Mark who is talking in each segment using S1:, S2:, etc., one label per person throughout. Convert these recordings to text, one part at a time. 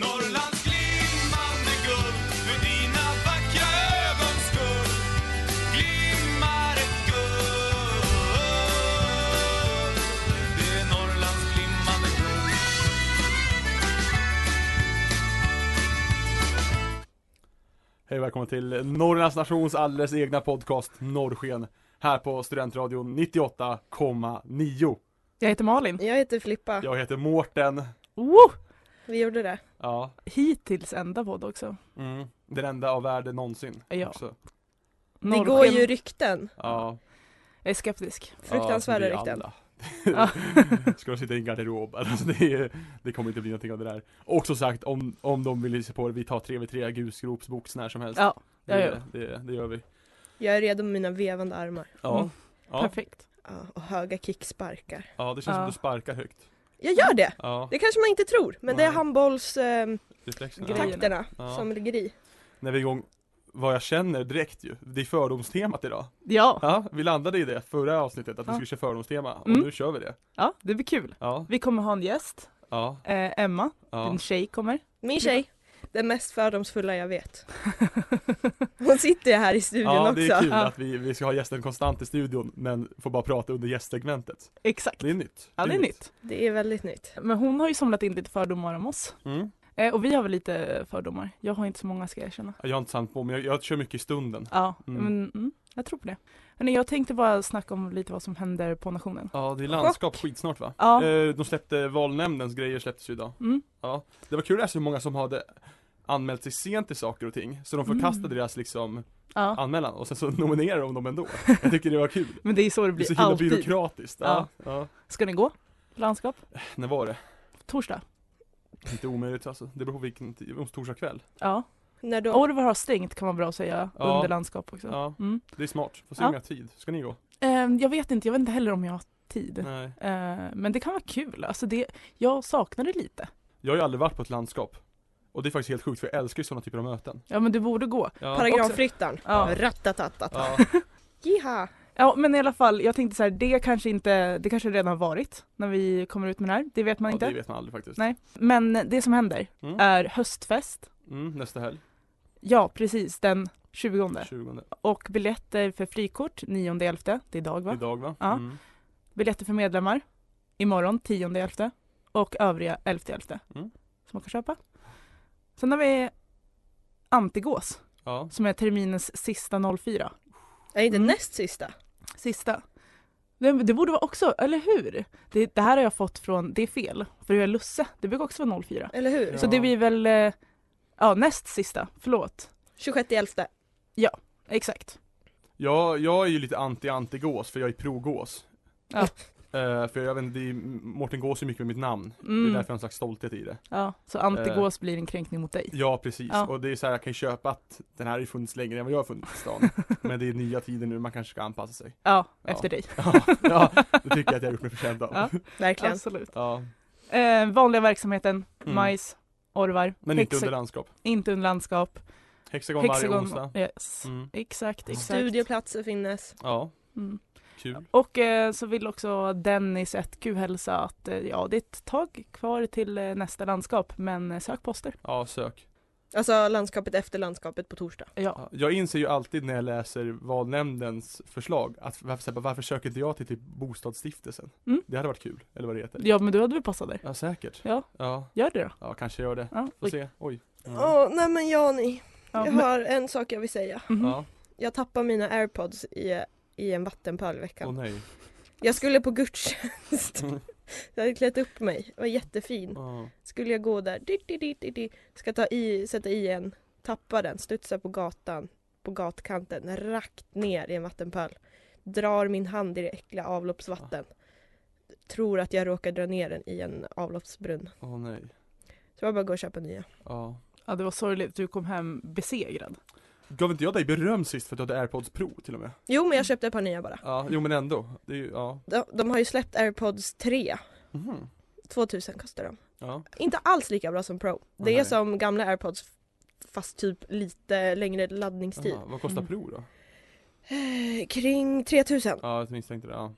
S1: Norrlands glimmande guld för dina vackra ögons skull glimmar ett guld Det är Norrlands glimmande guld
S2: Hej och välkomna till Norrlands nations alldeles egna podcast Norrsken Här på Studentradion 98,9
S3: Jag heter Malin.
S4: Jag heter Filippa.
S2: Jag heter Mårten
S3: Woo!
S4: Vi gjorde det.
S2: Ja,
S3: Hittills enda podd också. Äh,
S2: mm. den enda av världen någonsin
S3: Ja.
S2: också.
S4: Det
S3: Norrsken.
S4: går ju rykten.
S2: Ja,
S3: Jag är skeptisk.
S4: Fruktansvärda
S2: ja,
S4: rykten.
S2: vi alla. Ska de sitta i en garderob? Alltså det, är, det kommer inte bli någonting av det där Och som sagt, om, om de vill se på det, vi tar 3v3 gusgropsbox när som helst
S3: Ja,
S2: Alltså, det,
S3: ja, ja.
S2: det, det gör vi
S4: Jag är redo med mina vevande armar.
S2: Ja,
S3: Mm.
S2: ja,
S3: perfekt.
S4: Ja, och höga kicksparkar.
S2: ja det känns som
S3: Ja.
S2: att du sparkar högt
S4: Jag gör det!
S2: Ja,
S4: Det kanske man inte tror, men det är
S2: Nej.
S4: handbollstakterna
S2: reflexerna
S3: Grejerna.
S2: Ja.
S4: som ligger i.
S2: när vi är igång vad jag känner direkt ju. Det är fördomstemat idag.
S3: Ja,
S2: Ja, vi landade i det förra avsnittet att vi
S3: Ja.
S2: skulle köra fördomstema och
S3: Mm.
S2: nu kör vi det.
S3: ja, det blir kul.
S2: Ja,
S3: Vi kommer ha en gäst,
S2: ja,
S3: eh, Emma,
S2: ja.
S3: en tjej kommer.
S4: Min tjej, den mest fördomsfulla jag vet. Hon sitter ju här i studion
S2: Ja, det är
S4: också.
S2: kul
S3: Ja.
S2: att vi, vi ska ha gästen konstant i studion men får bara prata under gästsegmentet.
S3: Exakt.
S2: Det är nytt.
S3: Ja, det är nytt.
S4: Det är väldigt nytt.
S3: Men hon har ju samlat in lite fördomar om oss.
S2: Mm.
S3: Eh, och vi har väl lite fördomar. Jag har inte så många ska jag erkänna.
S2: Jag har inte sant på men jag, jag kör mycket i stunden.
S3: Ja,
S2: Mm.
S3: men mm, jag tror på det. Hörrni, jag tänkte bara snacka om lite vad som händer på nationen.
S2: Ja, det är landskap skitsnart va?
S3: Ja.
S2: Eh, De släppte valnämndens grejer släpptes ju idag.
S3: Mm.
S2: Ja, det var kul att läsa hur många som hade anmält sig sent till saker och ting, så de förkastade
S3: Mm.
S2: deras liksom
S3: Ja.
S2: anmälan och sen så nominerade de dem ändå. Jag tycker det var kul.
S3: Men det är så det
S2: Det är så
S3: blir
S2: himla
S3: alltid.
S2: byråkratiskt. Ja. Ja.
S3: Ska ni gå? Landskap?
S2: När var det?
S3: Torsdag?
S2: Inte omöjligt alltså. Det beror på vilken tid. Om torsdag kväll.
S3: Ja.
S4: När de,
S3: Orvar har stängt kan man bra säga
S2: Ja.
S3: under landskap också.
S2: Ja,
S3: Mm.
S2: det är smart. Får se
S3: Ja.
S2: om jag har tid. Ska ni gå?
S3: Ehm, jag vet inte, jag vet inte heller om jag har tid.
S2: Nej.
S3: Ehm, men det kan vara kul, alltså det, jag saknar det lite.
S2: Jag har ju aldrig varit på ett landskap. Och det är faktiskt helt sjukt för jag älskar ju sådana typer av möten.
S3: Ja men du borde gå.
S2: Ja.
S4: paragrafryttaren.
S3: Ja.
S4: Ratatatata.
S2: Ja.
S4: Jiha!
S3: ja men i alla fall, jag tänkte så här, det kanske inte, det kanske redan har varit när vi kommer ut med det här, det vet man
S2: ja,
S3: inte.
S2: det vet man aldrig faktiskt.
S3: Nej. Äh. Men det som händer
S2: Mm.
S3: är höstfest,
S2: Mm, nästa helg,
S3: ja precis den 20
S2: 20
S3: och biljetter för frikort 9.11, det är idag va?
S2: idag va?
S3: Ja.
S2: Mm.
S3: Biljetter för medlemmar imorgon 10.11 och övriga 11.11
S2: Mm.
S3: som man kan köpa. Sen har vi Antigås
S2: ja.
S3: som är terminens sista 04.
S4: Nej, inte
S3: Mm.
S4: näst sista.
S3: Sista. Det, det borde vara också, eller hur? Det, det här har jag fått från, det är fel, för jag är Lusse, det brukar också vara 04.
S4: Eller hur?
S2: Ja.
S3: Så det blir väl, eh, ja näst sista, förlåt.
S4: 26.11.
S3: Exakt.
S2: Jag, jag är ju lite anti-anti-gås för jag är pro-gås.
S3: Ja.
S2: Eh, för jag vet inte, det är- Mårten Gås är mycket med mitt namn. Det är
S3: Mm.
S2: därför Eh. jag har en slags stolthet i det.
S3: Ja, så Antigås blir en kränkning mot dig.
S2: Ja precis,
S3: Ja.
S2: och det är så här, jag kan ju köpa att den här har ju funnits längre än vad jag har funnits i stan Men det är nya tider nu, man kanske ska anpassa sig
S3: Ja,
S2: Ja.
S3: efter dig.
S2: Ja, ja det tycker jag att jag har gjort mig förtjänt av
S3: Ja.
S2: ja.
S4: Verkligen.
S3: Absolut. Eh, vanliga verksamheten,
S2: Mm.
S3: majs, orvar,
S2: Men inte
S3: hexa-
S2: under landskap
S3: inte under landskap.
S2: Hexagon, varje onsdag
S3: Hexagon, yes.
S2: mm.
S3: Exakt, exakt.
S4: Studieplatser finnes.
S2: Ja,
S3: Mm.
S2: kul
S3: Och eh, så vill också Dennis 1Q hälsa att eh, ja, det är ett tag kvar till eh, nästa landskap, men eh, sök poster.
S2: Ja, sök
S4: Alltså landskapet efter landskapet på torsdag.
S3: Ja,
S2: Ja, Jag inser ju alltid när jag läser valnämndens förslag att varför, så här, varför söker inte jag till typ bostadsstiftelsen?
S3: Mm.
S2: Det hade varit kul, eller vad det heter
S3: ja men du hade väl passat där?
S2: Ja, säkert
S3: Ja.
S2: Ja,
S3: Gör det då.
S2: ja kanske gör det
S3: Ja,
S2: Får
S3: oj.
S2: se, oj Mm.
S4: Åh, nej men Jani.
S3: Ja,
S4: jag
S3: men,
S4: har en sak jag vill säga.
S3: mhm.
S2: Ja,
S4: Jag tappade mina airpods i, i en vattenpöl i veckan.
S2: åh nej
S4: Jag skulle på gudstjänst.
S2: Mm.
S4: Jag hade klätt upp mig. Jag var jättefin.
S2: Ja.
S4: Skulle jag gå där, dit, dit, dit, dit, dit. ska ta i, sätta i en, tappa den, studsa på gatan, på gatkanten, rakt ner i en vattenpöl. Drar min hand i det äckliga avloppsvatten. Tror att jag råkar dra ner den i en avloppsbrunn.
S2: Åh nej
S4: Så jag bara går och köper nya.
S2: Ja
S3: ja, det var sorgligt, du kom hem besegrad.
S2: Gav inte jag dig beröm sist för att du hade airpods pro till och med?
S4: Jo men jag köpte ett par nya bara.
S2: Ja, jo men ändå. Det är ju, ja.
S4: De, de har ju släppt airpods 3.
S2: Mhm.
S4: 2000 kostar de.
S2: Ja,
S4: Inte alls lika bra som pro. Det är
S2: Nej.
S4: som gamla airpods fast typ lite längre laddningstid.
S2: Aha, vad kostar
S3: Mm.
S2: prov då?
S4: Eh, Kring 3000.
S2: Ja, jag misstänkte det. Ja.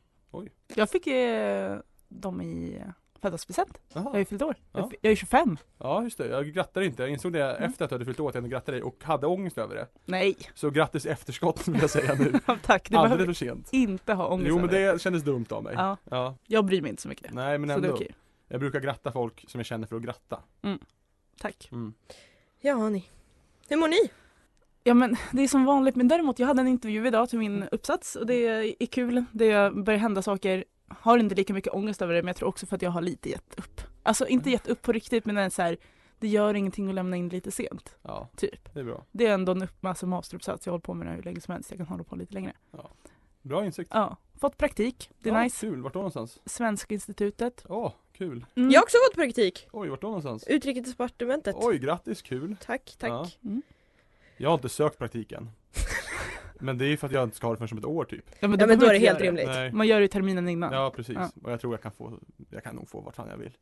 S3: Jag fick eh, dem i eh, födelsedagspresent. Jag har
S2: Aha.
S3: ju fyllt år.
S2: Ja.
S3: Jag, fi- jag är 25.
S2: ja, just det. Jag grattar inte. Jag insåg det
S3: Mm.
S2: efter att du hade fyllt år att jag inte grattade dig och hade ångest över det.
S3: Nej,
S2: Så grattis i efterskott vill jag säga nu.
S3: tack. Det behöver
S2: Alldeles för sent.
S3: inte ha ångest
S2: Jo men
S3: över.
S2: det kändes dumt av mig.
S3: Ja,
S2: Ja.
S3: jag bryr mig inte så mycket.
S2: Nej men
S3: så det är
S2: ändå.
S3: okej.
S2: Jag brukar gratta folk som jag känner för att gratta.
S3: Tack.
S2: Mm.
S4: Ja hörni. Hur mår ni?
S3: Ja men det är som vanligt, men däremot jag hade en intervju idag till min uppsats och det är kul. Det börjar hända saker. Har inte lika mycket ångest över det men jag tror också för att jag har lite gett upp. Alltså
S2: Mm.
S3: inte gett upp på riktigt men det är så här, det gör ingenting att lämna in lite sent,
S2: Ja,
S3: typ.
S2: det är bra.
S3: Det är ändå en upp, alltså masteruppsats, jag har hållit på med den hur länge som helst, jag kan hålla på lite längre.
S2: Bra insikt.
S3: Ja, fått praktik, det är
S2: ja,
S3: nice.
S2: Kul, vart då någonstans?
S3: Svenska institutet.
S2: Åh, kul.
S3: Mm.
S4: Jag har också fått praktik.
S2: Oj, vart då någonstans?
S4: Utrikesdepartementet.
S2: Oj, grattis, kul.
S4: Tack, tack.
S2: Ja.
S3: Mm.
S2: Jag har inte sökt praktiken. men det är för att jag inte ska ha det förrän om ett år typ.
S3: men,
S4: Ja men då
S3: behöver
S4: är
S3: man
S4: det
S3: inte
S4: helt
S3: göra
S4: rimligt.
S2: Nej.
S3: Man gör det ju terminen innan.
S2: Ja precis,
S3: Ja.
S2: och jag tror jag kan få, jag kan nog få vart fan jag vill.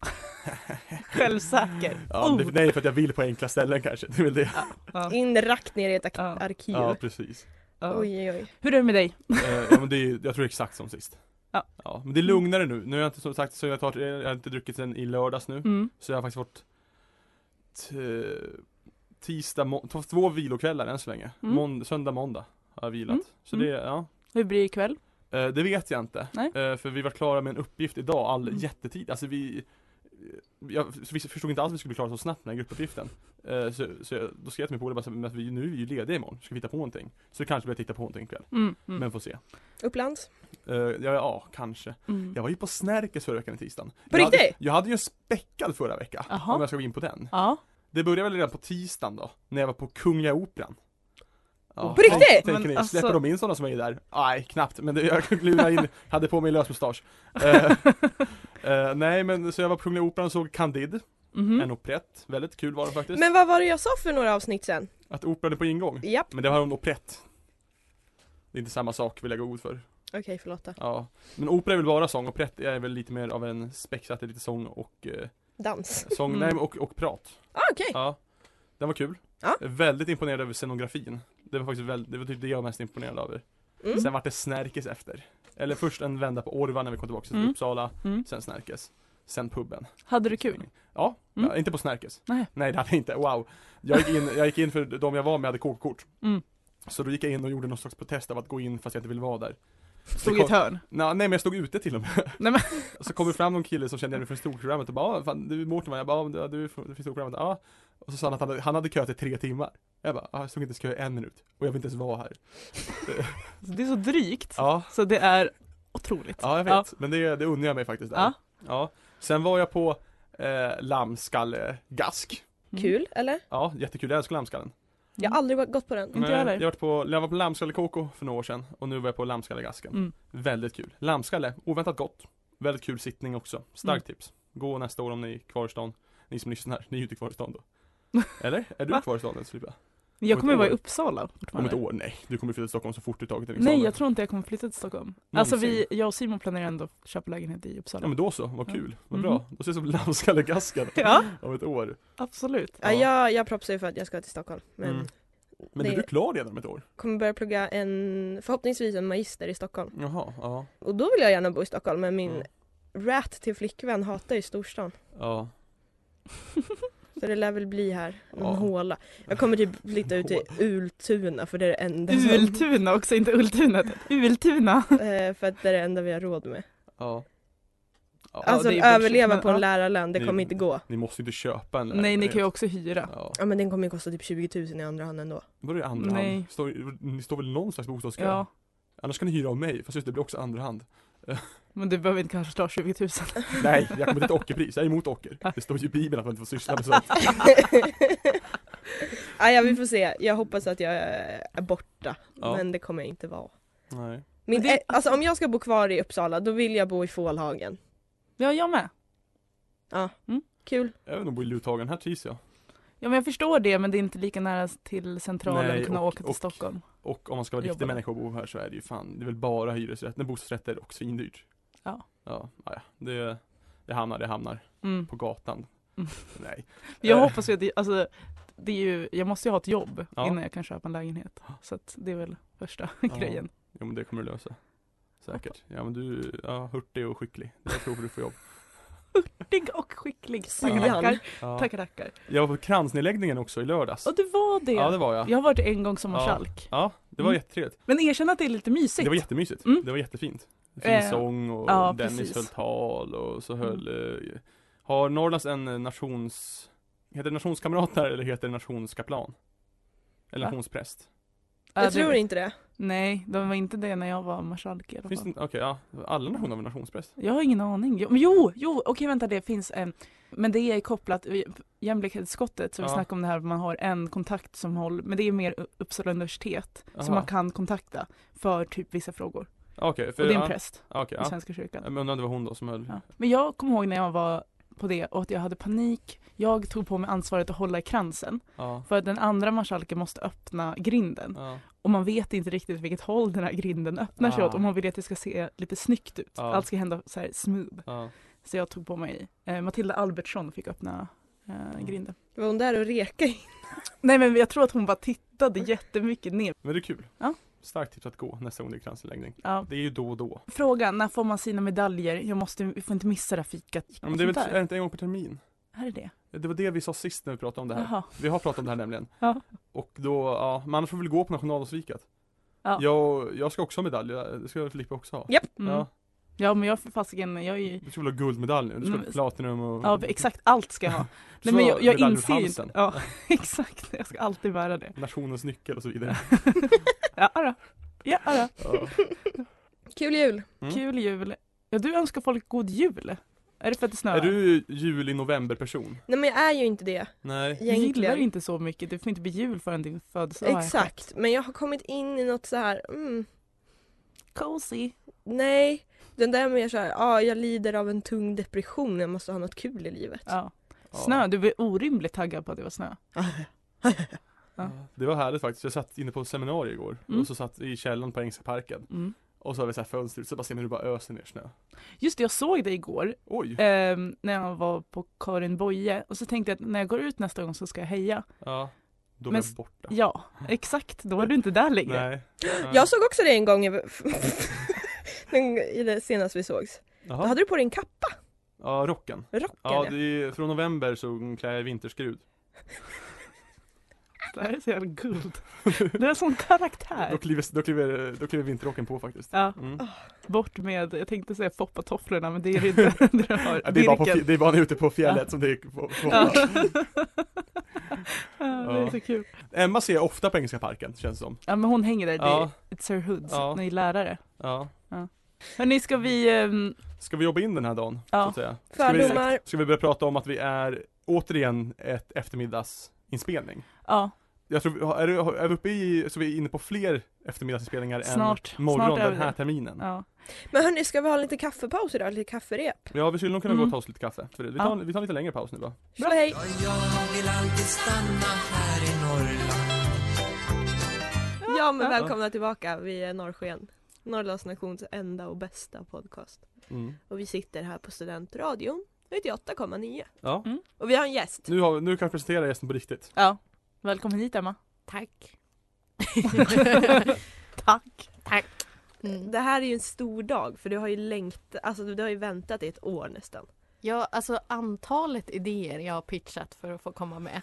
S3: Självsäker.
S2: Ja,
S3: oh.
S2: det, nej för att jag vill på enkla ställen kanske, det är väl det.
S3: ja.
S4: In rakt ner i ett ak-
S3: Ja.
S4: arkiv.
S2: Ja precis.
S3: Oh. Ja.
S4: Oj, oj, oj.
S3: Hur är det med dig?
S2: Eh, ja, men det är, jag tror det är exakt som sist.
S3: Ja.
S2: men det är lugnare nu. Nu har jag inte som sagt, så jag, tar, jag har inte druckit sen i lördags nu.
S3: Mm.
S2: Så jag har faktiskt fått t- tisdag, må- t- två vilokvällar än så länge.
S3: Mm.
S2: Månd- söndag, måndag har jag vilat.
S3: Mm.
S2: Så
S3: Mm.
S2: det, ja.
S3: Hur blir det ikväll?
S2: Eh, det vet jag inte.
S3: Nej.
S2: Eh, för vi var klara med en uppgift idag all
S3: Mm.
S2: jättetid. Alltså vi jag vi förstod inte alls att vi skulle bli klara så snabbt med den här gruppuppgiften. Eh, Så, så jag, då skrev jag till min polare bara så här, "Men att vi, nu är vi ju lediga imorgon, ska vi hitta på någonting? Så kanske vi titta på någonting ikväll.
S3: Mm. Mm.
S2: Men får se.
S4: Upplands.
S2: Eh, ja, ja, kanske.
S3: Mm.
S2: Jag var ju på Snärkes förra veckan i tisdagen.
S4: På
S2: jag Hade,
S4: riktigt?
S2: jag hade ju en späckad förra vecka.
S3: Jaha.
S2: Om jag ska gå in på den.
S3: Ja.
S2: Det började väl redan på tisdagen då, när jag var på Kungliga Operan. Ja,
S3: På
S4: riktigt?
S2: Tänker
S3: Men
S2: ni,
S3: alltså-
S2: släpper de in sådana som är där? Nej, knappt, men det, jag lurade in, hade på mig lös mustasch. Eh, eh, nej men så jag var på Kungliga Operan och såg Candide, en
S3: Mhm.
S2: operett. Väldigt kul var det faktiskt.
S4: Mm. Men vad var det jag sa för några avsnitt sen?
S2: Att operan är på ingång.
S4: Japp.
S2: Men det var en operett. Det är inte samma sak vill jag gå god för.
S4: Okej, förlåt då.
S2: Ja. Men opera är väl bara sång, operett är väl lite mer av en spex, att det är lite sång och eh,
S4: Dans.
S2: sång,
S3: Mm.
S2: nej, men och, och prat.
S4: Ah, Okej.
S2: Ja, den var kul.
S4: Ja.
S2: Jag är Väldigt imponerad över scenografin. Det var faktiskt väl, det var typ det jag var mest imponerad över.
S4: Mm.
S2: Sen vart det Snärkes efter. Eller först en vända på Orvar när vi kom tillbaka till
S3: Mm.
S2: Uppsala,
S3: Mm.
S2: sen Snärkes. Sen puben.
S3: Hade du kul?
S2: Ja,
S3: Mm.
S2: ja, inte på Snärkes.
S3: Nej.
S2: Nej det hade jag inte, wow. Jag gick in, jag gick in för de jag var med hade KK-kort.
S3: Mm.
S2: Så då gick jag in och gjorde någon slags protest av att gå in fast jag inte ville vara där.
S3: Stod
S2: Det
S3: i
S2: kom-
S3: ett hörn?
S2: Nå, nej men jag stod ute till och med.
S3: Nej, men-
S2: Så kom det fram någon kille som kände igen mig från storprogrammet och bara "Ah, fan, du är Mårten va?" Jag bara "Ja, men du, du är från du är från storprogrammet, ja. Och så sa han att han hade, han hade köat i tre timmar. Jag bara, "Ah, jag stod inte i kö i en minut. Och jag vill inte ens vara här.
S3: Det är så drygt.
S2: Ja,
S3: Så det är otroligt.
S2: ja jag vet. Men det, det unnar jag mig faktiskt där.
S3: Ja.
S2: Ja. Sen var jag på eh, lammskalle-gask.
S3: Mm.
S4: Kul, eller?
S2: Ja, jättekul. Jag älskar lammskallen.
S4: Jag
S2: Mm.
S4: har aldrig gått på den.
S3: Inte jag heller.
S2: jag, varit på, jag var på lammskallekoko för några år sedan och nu var jag på lammskallegasken.
S3: Mm.
S2: Väldigt kul. Lammskalle, oväntat gott. Väldigt kul sittning också. Starkt
S3: Mm.
S2: tips. Gå nästa år om ni är kvar i stan. Ni som lyssnar, ni är ju inte kvar i stan då. Eller? Är du
S3: Va?
S2: kvar i stan ens Filippa?
S3: Jag kommer
S2: ett
S3: ju vara i
S2: år.
S3: Uppsala
S2: Om ett
S3: fortfarande.
S2: år? liksom. Nej, du kommer flytta till Stockholm så fort du tagit en examen.
S3: Nej, jag tror inte jag kommer flytta till Stockholm. Alltså vi,
S2: Någonsin.
S3: jag och Simon planerar ändå att köpa lägenhet i
S2: Ja
S3: Uppsala.
S2: men då så, vad
S3: Ja.
S2: kul. Vad
S3: Mhm.
S2: bra. Då ses vi på lammskallegasken
S3: Ja,
S2: om ett år.
S3: absolut.
S4: Ja,
S2: Ja.
S4: jag, jag propsar ju för att jag ska till Stockholm. Men
S2: Mm. Men
S4: Det-
S2: är du klar redan om ett år?
S4: kommer börja plugga en, förhoppningsvis en magister i Stockholm.
S2: Jaha, ja.
S4: Och då vill jag gärna bo i Stockholm men min
S2: Mm.
S4: rat till flickvän hatar ju storstan.
S2: Ja.
S4: Så det lär väl bli här,
S2: Ja.
S4: någon håla. Jag kommer typ flytta ut till Ultuna för det är det enda som-
S3: Ultuna också, inte Ultunet. Ultuna.
S4: eh, För att det är det enda vi har råd med.
S2: ja. Ja,
S4: alltså
S3: det är börsligt,
S4: överleva
S3: men
S4: på en
S3: ja.
S4: lärarlön, det
S2: Det-
S4: kommer inte gå.
S2: Ni måste ju inte köpa en
S3: Nej, ni kan ju
S2: lägenhet.
S3: också hyra.
S2: Ja.
S4: Ja men den kommer ju kosta typ 20 000 i andra hand ändå.
S2: Vadå i andra
S3: Nej.
S2: hand? Står, ni står väl i någon slags bostadskö?
S3: Ja,
S2: Annars kan ni hyra av mig, fast just det blir också andra hand.
S3: men du behöver inte kanske ta 20 000.
S2: Nej, jag kommer inte till ockerpris, jag är emot ocker. Det står ju i bibeln att man inte får syssla med sånt.
S4: ah, ja vi får se, jag hoppas att jag eh, är borta.
S2: Ja.
S4: Men det kommer jag inte vara.
S2: Nej.
S4: Min,
S3: Men det-
S4: eh, alltså om jag ska bo kvar i Uppsala då vill jag bo i Fålhagen.
S3: Ja, jag med.
S4: Kul.
S2: Jag vill nog bo i Luthagen, här trivs jag.
S3: Ja, men jag förstår det, men det är inte lika nära till centralen
S2: Nej,
S3: att kunna
S2: och-
S3: åka till
S2: och-
S3: Stockholm.
S2: Och om man ska vara riktig
S3: Jobbar.
S2: människa och bo här så är det ju fan, det är väl bara hyresrätter, bostadsrätter och svindyrt.
S3: Ja.
S2: Ja, ja, det, det hamnar, det hamnar
S3: Mm.
S2: på gatan.
S3: Mm.
S2: Nej.
S3: Jag
S2: Eh,
S3: hoppas ju att, det- alltså, det är ju, jag måste ju ha ett jobb
S2: Ja.
S3: innan jag kan köpa en lägenhet. Så att det är väl första
S2: Ja.
S3: grejen.
S2: Jo men det kommer du lösa. Säkert. Ja men du, ja, hurtig och skicklig. Jag tror du får jobb.
S3: Digg och skicklig.
S5: Sian.
S3: Tackar, tackar.
S2: Ja.
S3: Tackar, tackar.
S2: Jag var på kransnedläggningen också i lördags.
S3: Och du var det.
S2: Ja det var jag.
S3: Jag har varit en gång som
S2: Ja.
S3: marskalk.
S2: Ja, det var
S3: Mm.
S2: jättetrevligt.
S3: Men erkänn att det är lite mysigt.
S2: Det var jättemysigt.
S3: Mm.
S2: Det var jättefint. Fin
S3: Eh,
S2: sång och
S3: ja,
S2: Dennis
S3: precis. Mm.
S2: höll tal och så höll eh, Har Norrlands en eh, nations Heter det nationskamrater eller heter det nationskaplan? Eller
S3: Va?
S2: nationspräst?
S3: Ja,
S5: Jag
S3: det-
S5: tror inte det.
S3: Nej, de var inte det när jag var marskalk i alla
S2: Finns det
S3: fall.
S2: inte- Okej, ja. Alla nationer har väl nationspräst?
S3: Jag har ingen aning. Jo, men jo, jo okej vänta det finns en. Men det är kopplat, eh, jämlikhetsskottet som vi
S2: Ja.
S3: snackade om det här, man har en kontakt som håller, men det är mer Uppsala universitet som
S2: Aha.
S3: man kan kontakta för typ vissa frågor.
S2: Okej, för
S3: Och det är en
S2: ja,
S3: präst
S2: okej,
S3: i
S2: ja.
S3: Svenska kyrkan.
S2: Jag undrar om det var hon då som höll
S3: Ja. Men jag kommer ihåg när jag var på det och att jag hade panik. Jag tog på mig ansvaret att hålla i kransen
S2: Ja.
S3: för att den andra marskalken måste öppna grinden
S2: Ja.
S3: och man vet inte riktigt vilket håll den här grinden öppnar sig
S2: Ah.
S3: åt och man vill ju att det ska se lite snyggt ut.
S2: Ja.
S3: Allt ska hända så här smooth.
S2: Ja.
S3: Så jag tog på mig, eh, Matilda Albertsson fick öppna eh,
S2: Mm.
S3: grinden.
S5: Var hon där och reka in?
S3: Nej men jag tror att hon bara tittade jättemycket ner.
S2: Men det är kul.
S3: Ja.
S2: Starkt tips att gå nästa gång det är kransläggning.
S3: Ja.
S2: Det är ju då och då.
S3: Frågan, när får man sina medaljer? Jag måste, vi får inte missa det här fikat.
S2: Ja, men det är väl
S3: Sånt
S2: är
S3: där.
S2: det inte en gång per termin?
S3: Här är det.
S2: Det var det vi sa sist när vi pratade om det här.
S3: Jaha.
S2: Vi har pratat om det här nämligen.
S3: Ja.
S2: Och då, ja, men annars får vi väl gå på nationaldagsfikat.
S3: Ja.
S2: Jag, jag ska också ha medalj, det ska Filippa också ha.
S5: Ja.
S3: Mm.
S2: Ja,
S3: Ja. ja men jag för fasiken, jag är ju
S2: du ska väl ha guldmedalj nu? Du ska
S3: Mm.
S2: ha platinum och...
S3: Ja, exakt allt ska jag ha.
S2: Du
S3: Nej,
S2: ska
S3: men
S2: ha
S3: jag, jag
S2: medalj runt
S3: inser ju
S2: halsen.
S3: inte. Ja, exakt. Jag ska alltid bära det.
S2: Nationens nyckel och så vidare.
S3: Ja, då. Ja, då.
S2: Ja.
S5: Kul jul!
S2: Mm.
S3: Kul jul. Ja, du önskar folk god jul. Är det för att det snöar?
S2: Är du jul i november-person?
S5: Nej men jag är ju inte det
S2: Nej.
S3: Jag gillar
S5: egentligen.
S3: inte så mycket. Det får inte bli jul förrän din födelsedag. har
S5: Exakt, men jag har kommit in i något så här. Mm,
S3: skett. Cozy.
S5: nej. Den där mer såhär, ja ah, jag lider av en tung depression, jag måste ha något kul i livet.
S3: Ja.
S2: Ja.
S3: Snö. Du blir orimligt taggad på att det var snö.
S2: Ja. Det var härligt faktiskt. Jag satt inne på ett seminarium igår
S3: Mm.
S2: och så satt i källaren på Engelska parken.
S3: Mm.
S2: Och så har vi så här fönster så bara ser man hur det bara öser ner snö.
S3: Just det, jag såg dig igår
S2: Oj!
S3: ehm, när jag var på Karin Boye och så tänkte jag att när jag går ut nästa gång så ska jag heja.
S2: Ja. Då var
S3: Men
S2: jag
S3: s-
S2: borta.
S3: Ja, exakt. Då är du inte där längre.
S2: Nej. Nej.
S5: Jag såg också det en gång, jag- den, i det senast vi sågs. Då
S2: Jaha.
S5: hade du på dig en kappa,
S2: Ja, rocken.
S5: rocken
S2: Ja,
S5: ja.
S2: det är, från november så klär jag vinterskrud.
S3: Det här är så jävla guld. Du har sån karaktär.
S2: Då kliver, då, kliver, då kliver vinterrocken på faktiskt.
S3: Ja,
S2: Mm.
S3: bort med, jag tänkte säga foppatofflorna men det är det inte. Du har
S2: Ja, det, är bara på,
S3: virken.
S2: det är bara ute på fjället som det är på, på.
S3: Ja. ja, det är så kul.
S2: Emma ser jag ofta på Engelska parken känns det som.
S3: Ja men hon hänger där, det
S2: Ja.
S3: är ett Sir Hoods,
S2: Ja.
S3: ni är lärare.
S2: Ja.
S3: Hörni ska vi, ehm,
S2: Ska vi jobba in den här dagen? Så
S3: Ja.
S2: att säga? Ska, vi,
S5: Fördomar,
S2: ska vi börja prata om att vi är återigen ett eftermiddagsinspelning?
S3: ja
S2: Jag tror, vi- är, du, är vi uppe i, så vi är inne på fler eftermiddagsinspelningar
S3: Snart.
S2: än morgon
S3: Snart är vi
S2: den här
S3: det.
S2: terminen? Ja.
S3: ja.
S5: men hörni ska vi ha lite kaffepaus idag, lite kafferep?
S2: vi skulle nog kunna gå och
S3: Mm.
S2: ta oss lite kaffe. För det. Vi, tar,
S3: Ja.
S2: en- vi tar en lite längre paus nu va?
S5: Slå hej!
S6: Ja, jag vill alltid stanna här i Norrland
S5: Ja men
S2: Ja.
S5: välkomna tillbaka, vi är Norrsken. Norrlands nations enda och bästa podcast.
S2: Mm.
S5: Och vi sitter här på Studentradion, 98,9.
S2: Ja.
S5: Och vi har en gäst.
S2: Nu, har, vi- nu kan jag presentera gästen på riktigt.
S3: ja. Välkommen hit Emma.
S7: Tack.
S3: Tack.
S7: Tack. Mm.
S5: Det här är ju en stor dag för du har ju längt, alltså du har ju väntat i ett år nästan.
S7: Ja, alltså antalet idéer jag har pitchat för att få komma med.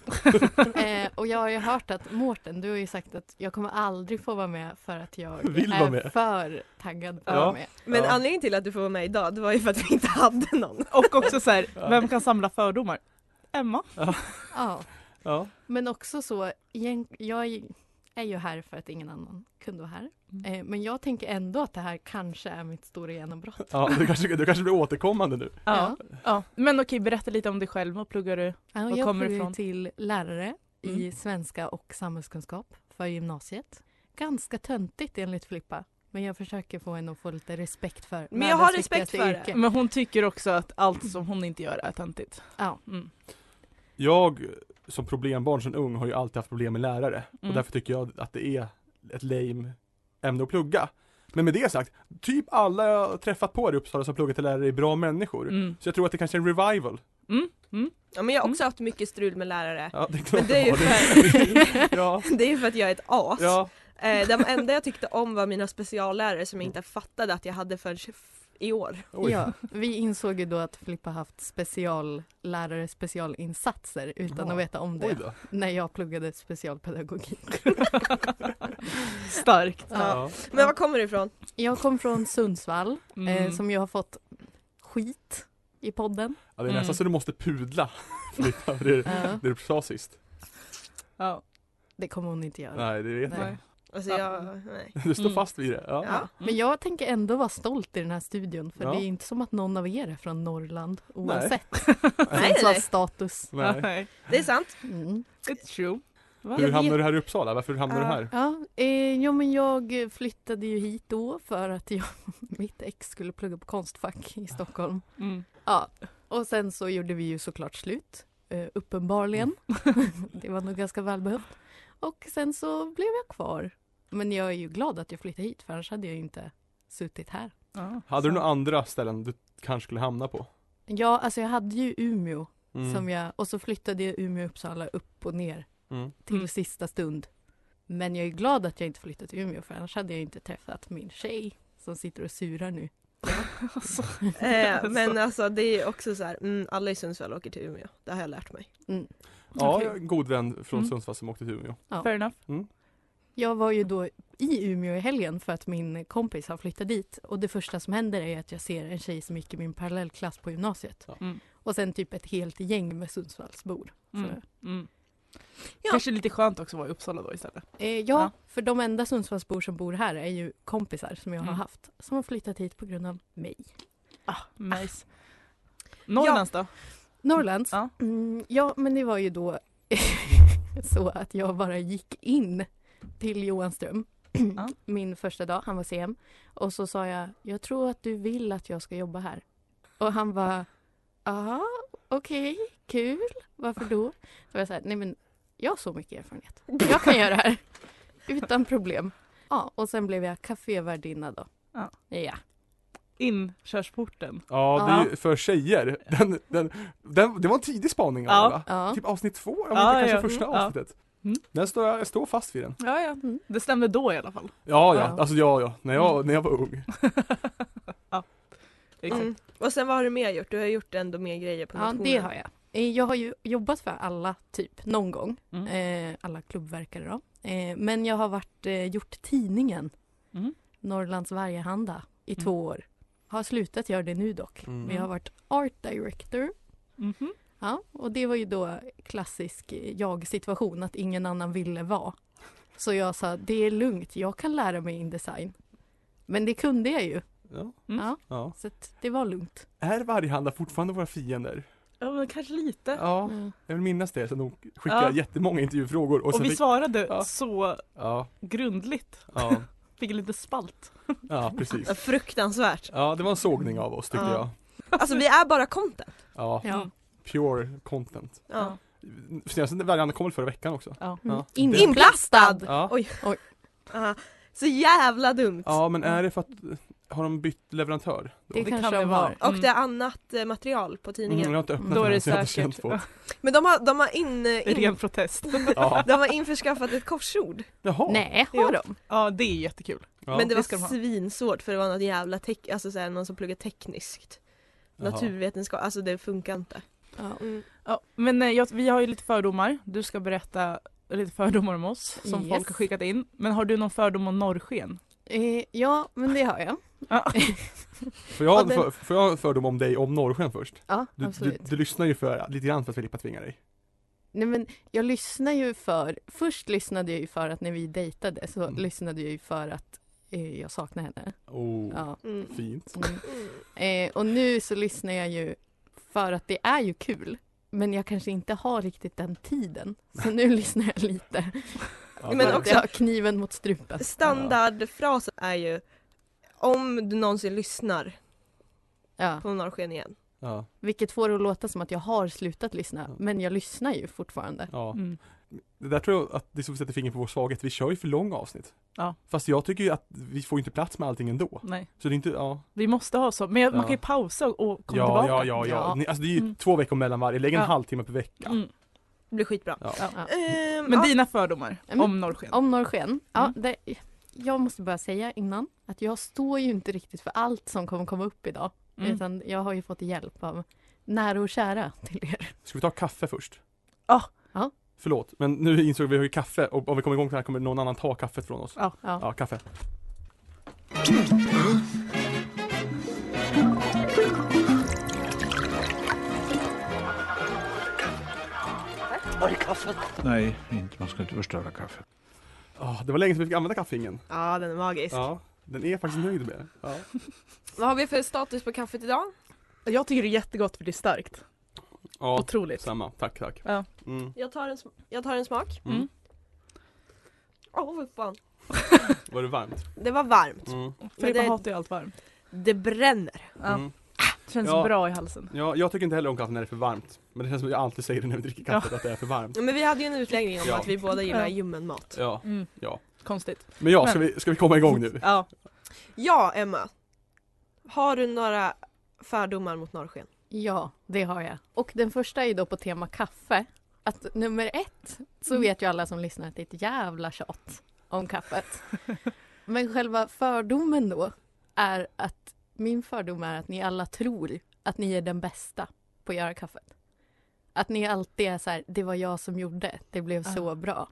S7: eh, och jag har ju hört att Mårten, du har ju sagt att jag kommer aldrig få vara med för att jag
S2: Vill vara
S7: är
S2: med.
S7: för taggad på att
S2: Ja.
S7: vara med.
S5: Men
S2: Ja.
S5: anledningen till att du får vara med idag det var ju för att vi inte hade någon.
S3: Och också så
S2: Ja.
S3: här, vem kan samla fördomar? Emma.
S7: Ja.
S2: Ja.
S7: Men också så, igen- jag är- är ju här för att ingen annan kunde vara här.
S3: Mm.
S7: Eh, men jag tänker ändå att det här kanske är mitt stora genombrott.
S2: Ja, du kanske, du kanske blir återkommande nu.
S3: Ja. ja. Men okej, berätta lite om dig själv, vad pluggar du?
S7: Ja,
S3: Var kommer du
S7: jag pluggar ju
S3: ifrån?
S7: till lärare i
S3: Mm.
S7: svenska och samhällskunskap för gymnasiet. Ganska töntigt enligt Filippa. Men jag försöker få henne att få lite respekt för
S5: Men jag har
S7: världens
S5: respekt
S7: viktigaste
S5: för det.
S7: yrke.
S3: Men hon tycker också att allt som hon inte gör är töntigt.
S7: Ja.
S3: Mm.
S2: Jag som problembarn som ung har ju alltid haft problem med lärare och
S3: Mm.
S2: därför tycker jag att det är ett lame ämne att plugga. Men med det sagt, typ alla jag har träffat på här i Uppsala som pluggar till lärare är bra människor.
S3: Mm.
S2: Så jag tror att det kanske är en revival.
S3: Mm.
S4: Ja, men jag har också haft mycket strul med lärare.
S2: Ja, det är klart
S4: Men det är ju
S2: jag har
S4: för,
S2: Ja,
S4: det är ju för att jag är ett as.
S2: ja.
S4: Eh, de enda jag tyckte om var mina speciallärare som jag inte fattade att jag hade förrän i år.
S2: Oj.
S7: Ja, vi insåg ju då att Filippa haft speciallärare, specialinsatser utan
S2: Ja.
S7: att veta om
S2: Oj
S7: det
S2: då.
S7: när jag pluggade specialpedagogik.
S3: Starkt.
S2: Ja.
S4: Men var kommer du ifrån?
S7: Jag kom från Sundsvall eh,
S3: Mm.
S7: som ju har fått skit i podden.
S2: ja, det är
S3: Mm.
S2: nästan så du måste pudla. Flytta, för det,
S7: Ja,
S2: det du sa sist.
S3: Ja.
S7: det kommer hon inte göra.
S2: Nej, det vet jag.
S7: Nej.
S4: Alltså
S3: Ja.
S4: jag, nej.
S2: Du står
S3: Mm.
S2: fast vid det. Ja.
S4: Ja.
S7: Men jag tänker ändå vara stolt i den här studion för
S2: Ja.
S7: det är inte som att någon av er är från Norrland oavsett
S4: Nej, nej.
S7: status.
S2: Nej.
S4: Det är sant.
S7: Mm.
S3: It's true. Va?
S2: Hur
S7: vet-
S2: hamnade du här i Uppsala? Varför hamnade
S3: Ja.
S2: du här?
S7: Ja, eh, jo, men jag flyttade ju hit då för att jag, mitt ex skulle plugga på Konstfack i Stockholm.
S3: Mm.
S7: Ja, och sen så gjorde vi ju såklart slut, eh, uppenbarligen. det var nog ganska välbehövt. Och sen så blev jag kvar. Men jag är ju glad att jag flyttade hit för annars hade jag ju inte suttit här.
S3: Ja,
S2: Hade du
S3: sant.
S2: några andra ställen du kanske skulle hamna på?
S7: Ja, alltså jag hade ju Umeå
S2: Mm.
S7: som jag, och så flyttade jag Umeå och Uppsala upp och ner
S2: Mm.
S7: till
S3: Mm.
S7: sista stund. Men jag är glad att jag inte flyttat till Umeå för annars hade jag inte träffat min tjej som sitter och surar nu.
S3: Alltså,
S4: Eh, men alltså det är också så här, mm, alla i Sundsvall åker till Umeå. Det har jag lärt mig.
S2: Ja,
S3: Okej.
S2: jag har en god vän från
S3: Mm.
S2: Sundsvall som åkte till Umeå.
S3: Fair enough.
S7: Jag var ju då i Umeå i helgen för att min kompis har flyttat dit och det första som händer är att jag ser en tjej som gick i min parallellklass på gymnasiet.
S2: Ja.
S3: Mm.
S7: Och sen typ ett helt gäng med Sundsvallsbor.
S3: Mm.
S7: Mm.
S3: Mm.
S4: Ja.
S3: Kanske lite skönt också att vara i Uppsala då istället.
S7: Eh, ja,
S3: Ja.
S7: för de enda Sundsvallsbor som bor här är ju kompisar som jag har
S3: Mm.
S7: haft som har flyttat hit på grund av mig.
S3: Ah, nice. Norrlands då?
S7: Norrlands?
S3: Ja.
S7: Mm, ja, men det var ju då så att jag bara gick in till Johanström
S3: Ja.
S7: min första dag, han var CM, och så sa jag, jag tror att du vill att jag ska jobba här. Och han var, ja, okej, kul, varför då? Så var jag så här, nej men jag har så mycket erfarenhet, jag kan göra det här utan problem. Ja, och sen blev jag kafévärdinna då.
S3: Ja.
S7: ja.
S3: Inkörsporten.
S2: Ja, det är ju för tjejer. Den, den, den, det var en tidig spaning av
S3: Ja.
S2: det, va?
S7: ja.
S2: Typ avsnitt två, eller
S3: Ja,
S2: kanske
S3: ja.
S2: första
S3: Mm, ja.
S2: avsnittet.
S3: Mm.
S2: Den står, jag står fast vid den.
S3: Ja, ja.
S7: Mm.
S3: Det stämde då i alla fall.
S2: Ja, ja,
S7: Ja.
S2: alltså ja, ja. När
S3: Mm.
S2: jag, när jag var ung.
S3: Exakt.
S4: Mm. Och sen vad har du mer gjort? Du har gjort ändå mer grejer på
S7: Ja,
S4: nationen.
S7: det har jag. Eh, Jag har ju jobbat för alla, typ, någon gång.
S3: Mm.
S7: Eh, alla klubbverkare då. Eh, men jag har varit, eh, gjort tidningen
S3: Mm.
S7: Norrlands Vargehanda i
S3: Mm.
S7: två år. Har slutat göra det nu dock.
S2: Mm.
S7: Men jag har varit art director.
S3: Mhm.
S7: Ja, och det var ju då klassisk eh, jag-situation, att ingen annan ville vara. Så jag sa, det är lugnt, jag kan lära mig indesign. Men det kunde jag ju,
S2: Ja,
S3: Mm.
S7: ja,
S2: ja.
S7: så att det var lugnt.
S2: Är Varghanda fortfarande våra fiender?
S3: Ja, men kanske lite.
S2: Ja,
S7: Mm.
S2: jag vill minnas det. Sen de skickade
S3: Ja.
S2: jättemånga intervjufrågor.
S3: Och,
S2: sen
S3: vi
S2: fick-
S3: svarade
S2: Ja.
S3: så
S2: Ja,
S3: grundligt.
S2: ja,
S3: Fick en liten spalt.
S2: ja, precis.
S4: Ja, Fruktansvärt.
S2: Ja, det var en sågning av oss tycker
S4: Ja.
S2: jag.
S4: Alltså vi är bara content.
S2: Ja,
S7: Ja.
S3: Mm.
S2: pure content.
S4: Ja.
S2: Senaste Varghanda kom väl förra veckan också?
S3: Ja.
S7: Mm.
S2: Ja.
S4: Inplastad!
S2: Ja.
S4: Oj. Ja. Så jävla dumt.
S2: ja, men är det för att har de bytt leverantör? då?
S7: Det,
S3: Det
S7: kanske
S3: kan det
S7: de
S3: vara.
S7: var.
S4: Och
S3: Mm.
S4: det är annat eh, material på tidningen.
S2: Mm, jag har inte öppnat
S7: Då
S3: är
S2: den
S3: det
S2: så jag har inte
S3: säkert.
S2: känt på.
S4: Men de har, de har in, eh, in,
S3: Ren protest.
S2: Ja.
S4: de har införskaffat ett korsord.
S2: Jaha.
S7: Nej, har de?
S3: Ja, det är jättekul.
S2: Ja.
S4: men det var
S3: det ska de ha.
S4: svinsvårt för det var något jävla tek- alltså såhär, någon som pluggade tekniskt.
S2: Jaha.
S4: Naturvetenskap, alltså det funkar inte.
S7: Ja.
S4: Mm.
S3: Ja, men eh, jag, vi har ju lite fördomar. Du ska berätta lite fördomar om oss som
S7: Yes.
S3: folk har skickat in. Men har du någon fördom om norrsken?
S7: Eh, ja, men det har jag.
S3: Ja.
S2: Får jag,
S7: Ja, den-
S2: för, får jag fördom om dig om Norrsken först?
S7: Ja,
S2: Du, du,
S7: absolut.
S2: du lyssnar ju för, lite grann för att Filippa tvingar dig.
S7: Nej, men jag lyssnar ju för... Först lyssnade jag ju för att när vi dejtade så
S2: Mm.
S7: lyssnade jag ju för att eh, jag saknar henne.
S2: Oh,
S7: Ja.
S4: Mm.
S2: fint.
S7: Mm.
S4: Mm.
S7: Eh, och nu så lyssnar jag ju för att det är ju kul. Men jag kanske inte har riktigt den tiden. Så nu lyssnar jag lite.
S2: Ja,
S4: Men
S7: för
S2: det-
S7: att
S4: också-
S7: jag har kniven mot strupen.
S4: Standardfrasen är ju om du någonsin lyssnar
S7: Ja,
S4: på norrsken igen,
S2: Ja,
S7: Vilket får det att låta som att jag har slutat lyssna,
S2: Ja.
S7: men jag lyssnar ju fortfarande.
S2: ja.
S3: Mm.
S2: Det där tror jag att det som sätter fingret på vår svaghet, vi kör ju för långa avsnitt.
S3: Ja.
S2: Fast jag tycker ju att vi får ju inte plats med allting ändå.
S3: Nej,
S2: Så det är inte, ja.
S3: vi måste ha så. Men jag- man
S2: Ja.
S3: kan ju pausa och- och komma
S2: Ja,
S3: tillbaka.
S2: ja, ja, ja.
S7: Ja.
S2: Ni, alltså det är ju
S3: Mm.
S2: två veckor mellan varje, lägg en
S3: Ja.
S2: halvtimme per vecka.
S3: Mm.
S5: Det blir skitbra.
S2: Ja.
S7: Ja.
S5: Ehm,
S3: Men
S5: ja.
S3: dina fördomar
S7: Mm.
S3: om norrsken?
S7: Om norrsken, ja,
S3: Mm.
S7: det, jag måste bara säga innan att jag står ju inte riktigt för allt som kommer komma upp idag.
S3: Mm.
S7: Utan jag har ju fått hjälp av nära och kära till er.
S2: Ska vi ta kaffe först?
S3: Ja.
S7: Ja.
S2: Förlåt, men nu insåg vi att vi har ju kaffe och om vi kommer igång så här kommer någon annan ta kaffet från oss.
S3: Ja.
S7: Ja.
S2: Ja, kaffe.
S8: Nej, inte. man ska inte förstöra kaffet.
S2: Ah, det var länge sedan vi fick använda kaffingen.
S5: ja, den är magisk.
S2: Ja, den är jag faktiskt nöjd med. Ja.
S4: Vad har vi för status på kaffet idag?
S3: Jag tycker det är jättegott för det är starkt.
S2: ja,
S3: Otroligt.
S2: samma. Tack, tack.
S3: Ja.
S2: Mm.
S4: Jag tar en, sm- jag tar en smak.
S2: Mm.
S4: Åh, vad fan.
S2: Var det varmt?
S5: Det var varmt.
S2: Mm.
S5: Men
S3: Filippa
S5: det-
S3: hatar ju allt varmt.
S5: Det bränner.
S3: Ja.
S2: Mm.
S3: Känns
S2: Ja.
S3: bra i halsen.
S2: Ja, jag tycker inte heller om kaffe när det är för varmt. Men det känns som att jag alltid säger det när vi dricker kaffe, att det är för varmt.
S3: Mm.
S5: Men vi hade ju en utläggning om
S2: Ja.
S5: att vi båda gillar
S3: Ja.
S5: ljummen mat.
S2: Ja,
S3: Mm.
S2: ja.
S3: Konstigt.
S2: Men ja,
S3: Men- Mm.
S2: ska vi, ska vi komma igång nu?
S3: Ja.
S5: Ja, Emma. Har du några fördomar mot norrsken?
S7: Ja, det har jag. Och den första är ju då på tema kaffe. Att nummer ett så
S3: Mm.
S7: vet ju alla som lyssnar att det är ett jävla tjat om kaffet. Men själva fördomen då är att min fördom är att ni alla tror att ni är den bästa på att göra kaffet. Att ni alltid är så här, det var jag som gjorde, det blev så
S3: Ah.
S7: bra.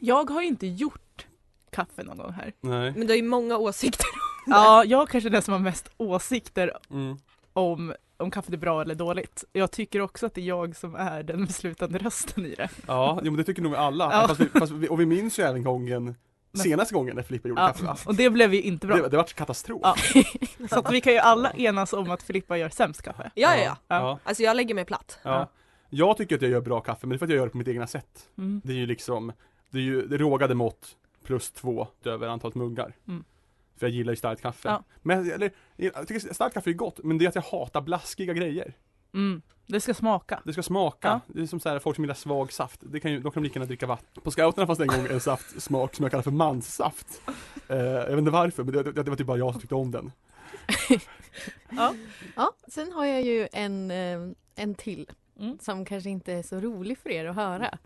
S3: Jag har ju inte gjort kaffe någon gång här.
S2: Nej.
S5: Men du har ju många åsikter.
S3: Ja, jag kanske är den som har mest åsikter
S2: Mm.
S3: om, om kaffet är bra eller dåligt. Jag tycker också att det är jag som är den beslutande rösten i det.
S2: Ja, jo, men det tycker nog alla.
S3: Ja.
S2: Fast vi, fast vi, och vi minns ju även gången, senaste gången när Filippa gjorde
S3: Ja,
S2: kaffe. va?
S3: och det blev ju inte bra.
S2: Det, det var katastrof.
S3: Ja. Så att vi kan ju alla enas om att Filippa gör sämst kaffe.
S5: Ja, ja, ja.
S2: Ja.
S5: Alltså jag lägger mig platt.
S2: ja. Jag tycker att jag gör bra kaffe, men det är för att jag gör det på mitt egna sätt.
S3: Mm.
S2: Det är ju liksom, det är ju det är rågade mått plus två över antalet muggar.
S3: Mm.
S2: För jag gillar ju starkt kaffe.
S3: Ja.
S2: Men eller, jag tycker starkt kaffe är gott, men det är att jag hatar blaskiga grejer.
S3: Mm. Det ska smaka.
S2: Det ska smaka.
S3: Ja.
S2: Det är som så här, folk som gillar svag saft. Det kan ju, de kan lika gärna dricka vatten. På scouterna fanns det en gång en saftsmak som jag kallar för manssaft. Eh, jag vet inte varför, men det, det, det var typ bara jag som tyckte om den.
S7: Ja, sen har jag ju en, eh, en till
S3: Mm.
S7: som kanske inte är så rolig för er att höra.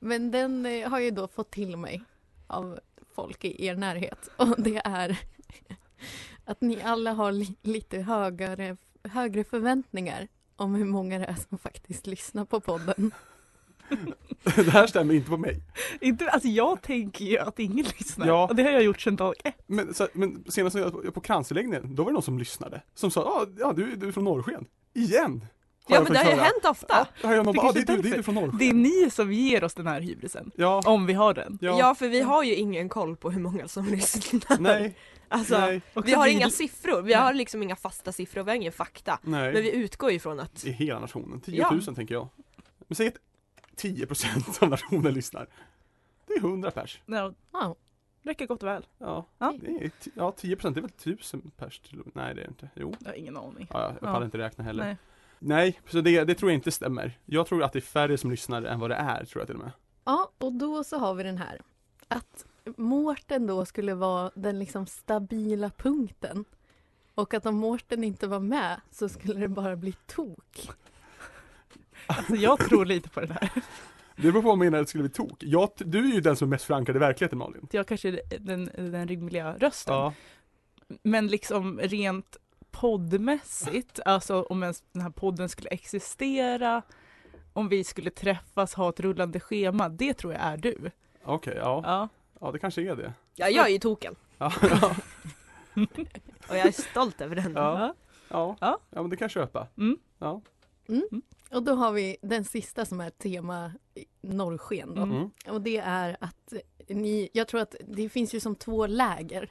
S7: Men den eh, har jag ju då fått till mig av folk i er närhet och det är att ni alla har li- lite högre, högre förväntningar om hur många det är som faktiskt lyssnar på podden.
S2: det här stämmer inte på mig.
S3: Inte, alltså jag tänker ju att ingen lyssnar.
S2: Ja.
S3: Och det har jag gjort sedan dag ett.
S2: Men, så, men senast jag var på kransläggningen, då var det någon som lyssnade. Som sa, ah, ja du, du är från Norrsken. Igen! Har
S5: Ja men det har ju
S2: fått höra.
S5: hänt ofta.
S2: Ja, ja, man
S3: Det
S2: bara, ah, det,
S3: kanske
S2: är du, det är
S3: därför.
S2: du från Norrsken.
S3: Det är ni som ger oss den här hybrisen.
S2: Ja,
S3: Om vi har den.
S5: Ja.
S2: ja,
S5: för vi har ju ingen koll på hur många som lyssnar.
S2: nej,
S5: Alltså,
S2: nej,
S3: Och
S5: vi
S3: att
S5: har inga siffror. Vi har liksom inga fasta siffror, vi har ingen fakta.
S2: nej.
S5: Men vi utgår ju från att
S2: I hela nationen, 10 000 tänker jag. Men säg att 10% av nationen lyssnar. Det är 100 pers.
S3: Ja,
S7: Ja,
S3: räcker gott och väl.
S2: Ja.
S3: Ja.
S2: Det är, ti- ja, 10 procent, det är väl 1000 pers? till- Nej, det är det inte. Jo.
S3: Jag har ingen aning.
S2: Ja, jag pallar
S3: Ja.
S2: inte räkna heller.
S3: Nej.
S2: Nej, så det, det tror jag inte stämmer. Jag tror att det är färre som lyssnar än vad det är, tror jag till och med.
S7: Ja, och då så har vi den här. Att Mårten då skulle vara den liksom stabila punkten. Och att om Mårten inte var med så skulle det bara bli tok.
S3: Alltså jag tror lite på den här.
S2: Det beror på vad man menar att det skulle bli tok. Jag, t- du är ju den som är mest förankrad i verkligheten, Malin.
S3: Jag kanske är den, den rimliga rösten. Men liksom rent poddmässigt, alltså om ens den här podden skulle existera, om vi skulle träffas, ha ett rullande schema, det tror jag är du.
S2: Okej, ja.
S3: Ja.
S2: Ja, det kanske är det.
S5: ja, jag är ju token.
S2: Ja, ja,
S5: Och jag är stolt över den.
S2: ja.
S3: Ja.
S2: Ja, ja men det kan jag köpa.
S3: Mm.
S2: Ja.
S7: Och då har vi den sista som är tema norrsken då.
S3: Mm.
S2: Mm.
S7: Och det är att ni, jag tror att det finns ju som två läger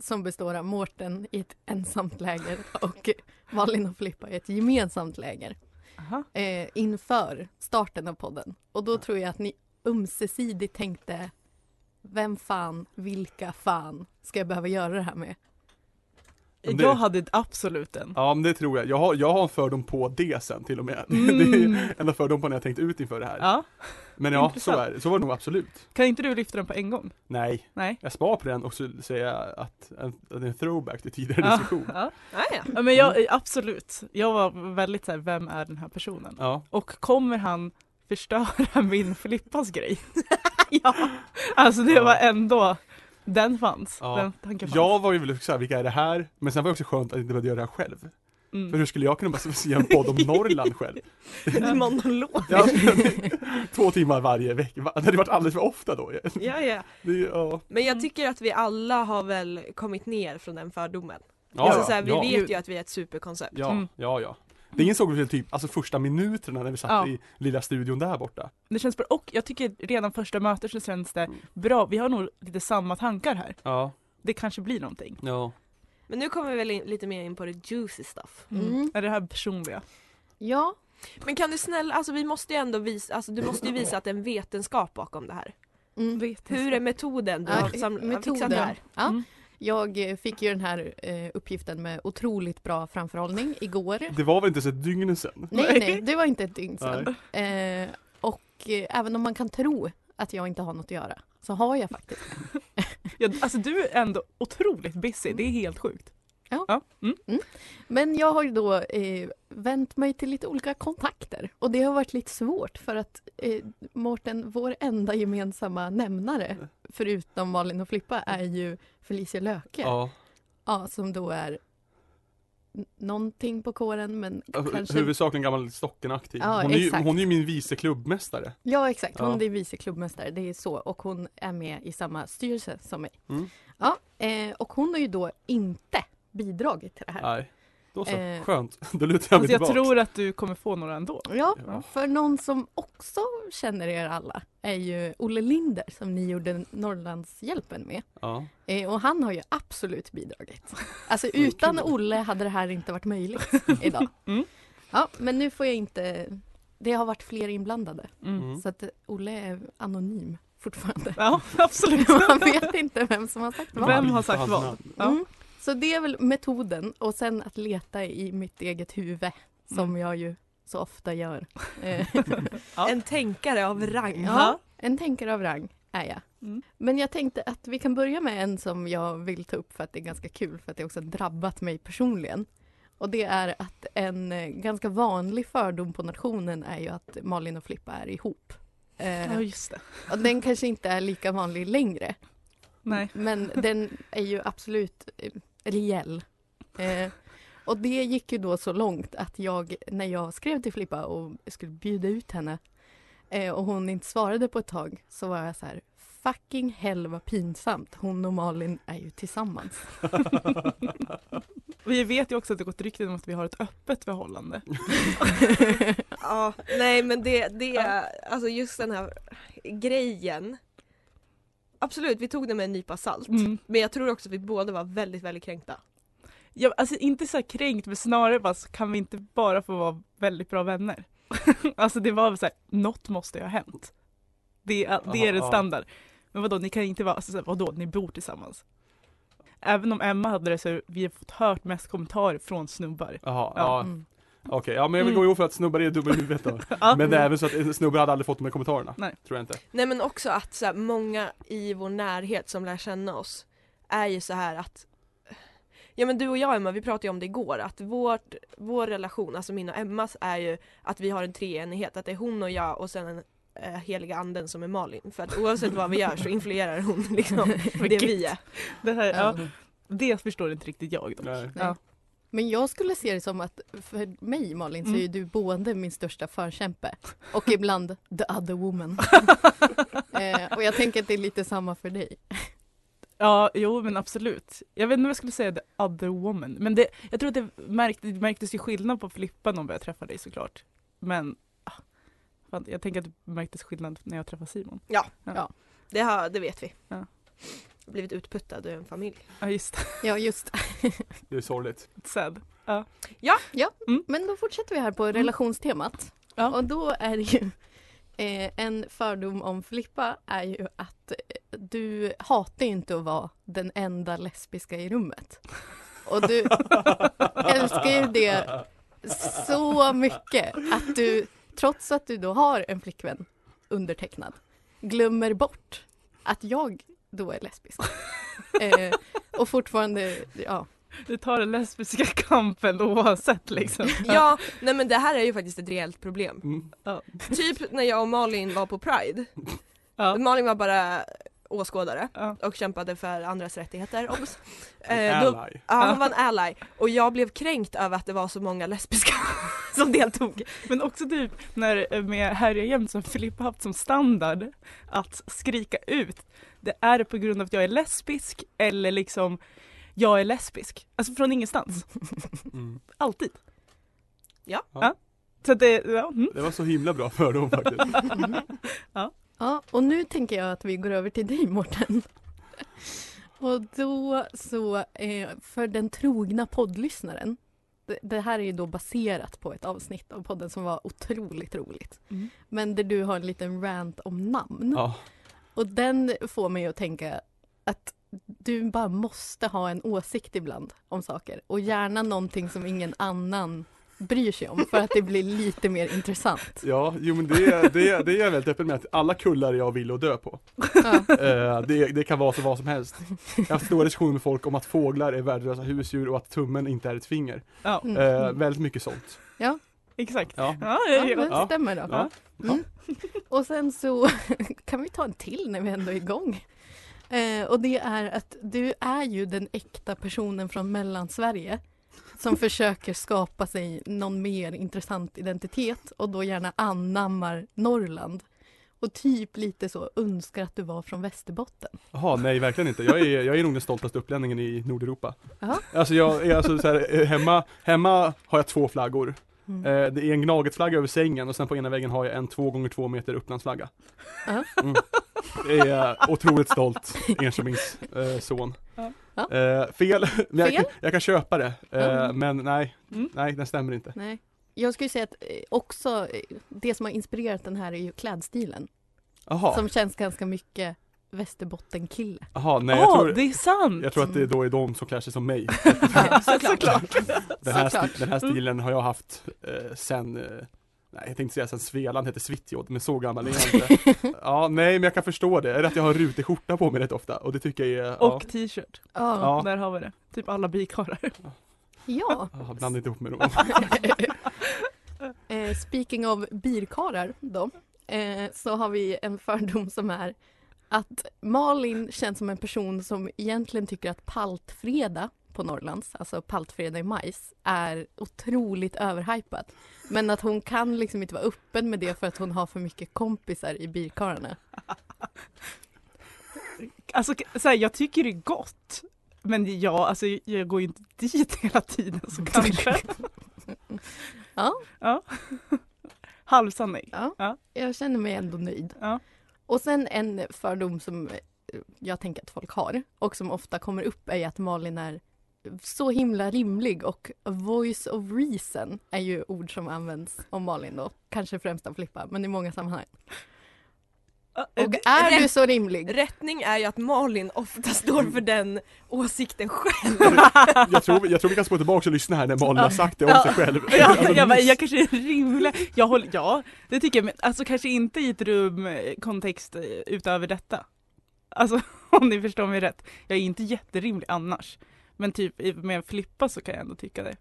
S7: som består av Mårten i ett ensamt läger och Malin och Filippa i ett gemensamt läger.
S3: Aha.
S7: eh, inför starten av podden. Och då tror jag att ni ömsesidigt tänkte vem fan, vilka fan ska jag behöva göra det här med?
S2: Men det-
S3: Jag hade absolut en.
S2: Ja men det tror jag. Jag har, jag har en fördom på det sen till och med. Det
S3: Mm.
S2: är en av fördomarna jag tänkt ut inför det här.
S3: Ja.
S2: men ja, så,
S3: intressant.
S2: är, det. så var det nog absolut.
S3: Kan inte du lyfta den på en gång?
S2: Nej,
S3: Nej.
S2: jag spar på den och så säger jag att, att det är en throwback till tidigare
S3: Ja,
S2: diskussion.
S3: ja.
S4: Ja, ja.
S3: Ja, men jag, absolut. Jag var väldigt så här, vem är den här personen?
S2: Ja.
S3: Och kommer han förstöra min Filippas grej? ja. Alltså det var ändå, den fanns.
S2: Ja.
S3: Den tanken fanns.
S2: Jag var ju väl såhär, vilka är det här? Men sen var det också skönt att jag inte behövde göra det här själv.
S3: Mm.
S2: För hur skulle jag kunna bara se en podd om Norrland själv?
S5: En monolog.
S2: Ja, två timmar varje vecka, Va- det hade varit alldeles för ofta då.
S4: Ja, ja.
S2: Det, är ju- ja.
S4: Men jag
S3: Mm.
S4: tycker att vi alla har väl kommit ner från den fördomen.
S2: Ja,
S4: alltså, så här, vi
S2: ja,
S4: vet ju att vi är ett superkoncept.
S2: ja,
S3: Mm.
S2: ja, ja. Det insåg vi väl typ, alltså första minuterna när vi satt
S3: Ja.
S2: i lilla studion där borta.
S3: Det känns bra. Och jag tycker redan första mötet så känns det bra. Vi har nog lite samma tankar här.
S2: Mm. Ja,
S3: Det kanske blir någonting.
S2: ja.
S4: Men nu kommer vi väl in, lite mer in på det juicy stuff.
S7: Mm.
S3: Är det här personliga?
S7: Ja,
S4: Men kan du snälla, alltså vi måste ju ändå visa, alltså du måste ju visa att det är en vetenskap bakom det här.
S7: mm.
S4: Hur är metoden du
S7: Ja,
S4: har samlat, fixat
S7: metoden.
S4: det här?
S7: Ja.
S3: Mm.
S7: Jag eh, fick ju den här eh, uppgiften med otroligt bra framförhållning igår.
S2: Det var väl inte så ett dygn sedan?
S7: Nej, nej, det var inte ett dygn sedan. Eh, och eh, även om man kan tro att jag inte har något att göra så har jag faktiskt.
S3: Ja, alltså du är ändå otroligt busy. Det är helt sjukt.
S7: Mm. Ja.
S3: mm.
S7: Men jag har ju då eh, vänt mig till lite olika kontakter och det har varit lite svårt för att eh, Mårten, vår enda gemensamma nämnare förutom Malin och Flippa är ju Felicia Löke.
S2: Ja.
S7: Ja, som då är n- någonting på kåren men
S2: Alltså,
S7: kanske...
S2: Huvudsakligen gammal Stockenaktiv.
S7: Ja,
S2: hon, är ju,
S7: exakt.
S2: hon är ju min vice klubbmästare.
S7: Ja exakt, hon
S2: Ja.
S7: är vice klubbmästare, det är så. Och hon är med i samma styrelse som mig.
S2: Mm.
S7: Ja, eh, och hon har ju då inte bidragit till det här.
S2: Nej. Då så,
S7: Eh.
S2: skönt. Då lutar jag mig
S3: Alltså, jag
S2: tillbaka.
S3: tror Mm. att du kommer få några ändå.
S7: Ja,
S2: Ja.
S7: för någon som också känner er alla är ju Olle Linder som ni gjorde Norrlandshjälpen med.
S2: Ja.
S7: Eh, och han har ju absolut bidragit. Alltså utan Olle hade det här inte varit möjligt idag.
S3: Mm.
S7: Ja, men nu får jag inte... Det har varit fler inblandade
S3: Mm.
S2: Mm.
S7: så att eh, Olle är anonym fortfarande.
S3: Ja, absolut.
S7: Man vet inte vem som har sagt vad.
S3: Vem har
S2: Lite
S3: sagt
S2: hans
S3: vad?
S2: namn.
S3: Ja.
S7: Mm. Så det är väl metoden och sen att leta i mitt eget huvud som
S3: Mm.
S7: jag ju så ofta gör. Eh,
S3: Ja.
S4: En tänkare av rang.
S7: ja, en tänkare av rang är jag.
S3: Mm.
S7: Men jag tänkte att vi kan börja med en som jag vill ta upp för att det är ganska kul för att det också har drabbat mig personligen. Och det är att en eh, ganska vanlig fördom på nationen är ju att Malin och Flippa är ihop. Eh,
S3: Ja, just det.
S7: och den kanske inte är lika vanlig längre.
S3: Nej.
S7: Men den är ju absolut eh, reell. Eh, och det gick ju då så långt att jag, när jag skrev till Filippa och skulle bjuda ut henne eh, och hon inte svarade på ett tag så var jag så här fucking hell vad pinsamt, hon och Malin är ju tillsammans.
S3: Vi vet ju också att det gått rykten om att vi har ett öppet förhållande.
S4: Ja, nej men det, det alltså just den här grejen. Absolut, vi tog det med en nypa salt.
S3: Mm.
S4: Men jag tror också att vi båda var väldigt, väldigt kränkta.
S3: Jag, alltså inte så här kränkt men snarare bara så kan vi inte bara få vara väldigt bra vänner. alltså det var väl så här, något måste ju ha hänt. Det, är- det är en
S2: Ja, ja.
S3: standard. Men vadå, ni kan inte vara, alltså, så här, vadå, ni bor tillsammans. Även om Emma hade det så har vi fått hört mest kommentarer från snubbar.
S2: Jaha, ja.
S3: Ja. Mm.
S7: Mm.
S2: Okej, ja men jag vill gå ihop för att snubbar är dumma i huvudet då. Men det är även så att snubbar hade aldrig fått de här kommentarerna.
S3: Nej.
S2: Tror jag inte.
S4: Nej men också att så här, många i vår närhet som lär känna oss är ju så här att Ja men du och jag Emma, vi pratade ju om det igår att vårt, vår relation, alltså min och Emmas är ju att vi har en treenighet, att det är hon och jag och sen den eh, heliga anden som är Malin. För att oavsett vad vi gör så influerar hon liksom det vi är.
S3: Det, här, ja.
S7: Ja.
S3: det förstår inte riktigt jag. Då.
S2: Nej.
S7: Nej.
S3: Ja.
S7: Men jag skulle se det som att för mig Malin så är ju du både min största förkämpe och ibland the other woman. eh, och jag tänker att det är lite samma för dig.
S3: Ja, jo men absolut. Jag vet inte om jag skulle säga the other woman, men det, jag tror att det, märkt, det märktes ju skillnad på Filippa när jag började träffa dig såklart. Men ah, fan, jag tänker att det märktes skillnad när jag träffade Simon.
S4: Det, har, det vet vi.
S3: Ja.
S4: Blivit utputtad ur en familj.
S3: Ja just det,
S7: Ja just
S2: Det är sorgligt.
S3: sad.
S7: Men då fortsätter vi här på relationstemat.
S3: Ja.
S7: Och då är det ju eh, en fördom om Filippa är ju att eh, du hatar ju inte att vara den enda lesbiska i rummet. Och du älskar ju det så mycket att du, trots att du då har en flickvän undertecknad, glömmer bort att jag då är lesbisk. eh, och fortfarande, ja.
S3: Du tar den lesbiska kampen oavsett liksom.
S4: Ja, nej men det här är ju faktiskt ett reellt problem.
S2: Mm.
S4: Typ när jag och Malin var på Pride.
S3: Ja.
S4: Malin var bara åskådare
S3: Ja.
S4: och kämpade för andras rättigheter. obs. Eh, då,
S2: Ally.
S4: ja, hon var en ally och jag blev kränkt över att det var så många lesbiska som deltog.
S3: Men också typ när med Harry jämt som Filippa haft som standard att skrika ut. Det är på grund av att jag är lesbisk eller liksom jag är lesbisk. Alltså från ingenstans.
S2: Mm.
S3: Alltid.
S4: Ja.
S3: ja. Så att det, ja. Mm.
S2: Det var så himla bra fördom faktiskt.
S7: mm. ja. Och nu tänker jag att vi går över till dig Mårten. Och då så, eh, för den trogna poddlyssnaren, det, det här är ju då baserat på ett avsnitt av podden som var otroligt roligt.
S3: Mm.
S7: Men där du har en liten rant om namn.
S2: Ja.
S7: Och den får mig att tänka att du bara måste ha en åsikt ibland om saker och gärna någonting som ingen annan bryr sig om för att det blir lite mer intressant.
S2: Ja, jo men det, det, det är jag väldigt öppen med att alla kullar jag vill och dö på.
S7: Ja.
S2: Eh, det, det kan vara så vad som helst. Jag har haft stora diskussioner med folk om att fåglar är värdelösa husdjur och att tummen inte är ett finger.
S3: ja,
S7: Mm.
S2: Eh, väldigt mycket sånt.
S3: exakt.
S2: Ja.
S3: Ja,
S7: Ja,
S3: ja, ja.
S7: det stämmer då.
S2: Ja.
S7: Mm. Och sen så kan vi ta en till när vi ändå är igång. Eh, och det är att du är ju den äkta personen från Mellansverige som försöker skapa sig någon mer intressant identitet och då gärna anammar Norrland. Och typ lite så önskar att du var från Västerbotten.
S2: Jaha, nej verkligen inte. Jag är, jag är nog den stoltaste upplänningen i Nordeuropa.
S7: Ja.
S2: Alltså jag är alltså så här, eh, hemma, hemma har jag två flaggor.
S7: Mm.
S2: Eh, det är en Gnagetflagga över sängen och sen på ena väggen har jag en 2 gånger 2 meter Upplandsflagga.
S7: Ja.
S2: Mm. Jag är otroligt stolt, Enköpings eh, son.
S3: Ja.
S7: Ja.
S2: Eh, fel, men jag,
S7: Fel?
S2: jag kan köpa det. Eh,
S7: Ja.
S2: Men nej,
S3: Mm.
S2: nej den stämmer inte.
S7: Nej. Jag skulle säga att eh, också eh, det som har inspirerat den här är ju klädstilen
S2: Jaha,
S7: som känns ganska mycket Västerbottenkille.
S2: Jaha, nej
S3: Nej,
S2: jag tror,
S3: Ah, det är sant!
S2: jag tror att det då är de som klär sig som mig.
S3: Såklart. Mm.
S2: Den här,
S7: Såklart.
S2: sti- den här stilen har jag haft eh, sen, eh, nej jag tänkte säga sen Svealand hette Svitjod, men så gammal är jag inte. ja, nej men jag kan förstå det. Är det att jag har rutig skjorta på mig rätt ofta och det tycker jag är,
S3: Och t-shirt.
S7: Ja.
S2: ja, ja,
S3: Där har vi det. Typ alla bikarar.
S7: ja.
S2: ja blanda inte ihop med dem.
S7: Eh, speaking of birkarar då, eh, så har vi en fördom som är att Malin känns som en person som egentligen tycker att paltfredag på Norrlands, alltså paltfredag i majs, är otroligt överhypat. Men att hon kan liksom inte vara öppen med det för att hon har för mycket kompisar i birkararna.
S3: Alltså så här, jag tycker det är gott. Men jag, alltså, jag går ju inte dit hela tiden så kanske.
S7: Ja.
S3: ja. Halvsanning.
S7: Ja,
S3: Ja.
S7: jag känner mig ändå nöjd.
S3: Ja.
S7: Och sen en fördom som eh, jag tänker att folk har och som ofta kommer upp är att Malin är så himla rimlig och a voice of reason är ju ord som används om Malin då. Kanske främst av Filippa, men i många sammanhang.
S3: Eh,
S7: Och är du så rimlig?
S4: Rättning är ju att Malin ofta står för den åsikten själv.
S2: Jag tror, jag tror vi kan spå tillbaka och lyssna här när Malin har sagt det om
S3: Ja.
S2: sig själv.
S3: Ja, jag, bara, jag kanske är rimlig. Jag håller, ja, det tycker jag. Men alltså kanske inte i ett rum eh, kontext eh, utöver detta. Alltså om ni förstår mig rätt. Jag är inte jätterimlig annars. Men typ i- med Filippa så kan jag ändå tycka det.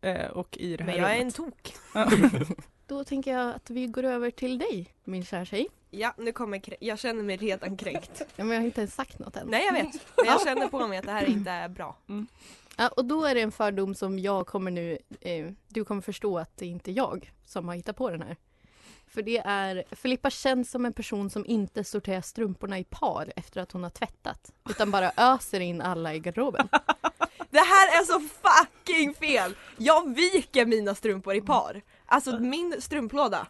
S3: Eh, och i det här
S4: Men jag är en
S3: rummet.
S4: tok.
S7: Då tänker jag att vi går över till dig, min kära tjej.
S4: Ja, nu kommer krä- jag känner mig redan kränkt.
S7: Ja, men jag har inte ens sagt något än.
S4: Nej jag vet, men jag känner på mig att det här inte är bra.
S7: Ja, och då är det en fördom som jag kommer nu, eh, du kommer förstå att det är inte jag som har hittat på den här. För det är, Filippa känns som en person som inte sorterar strumporna i par efter att hon har tvättat. Utan bara öser in alla i garderoben.
S4: Det här är så fucking fel! Jag viker mina strumpor i par. Alltså min strumplåda,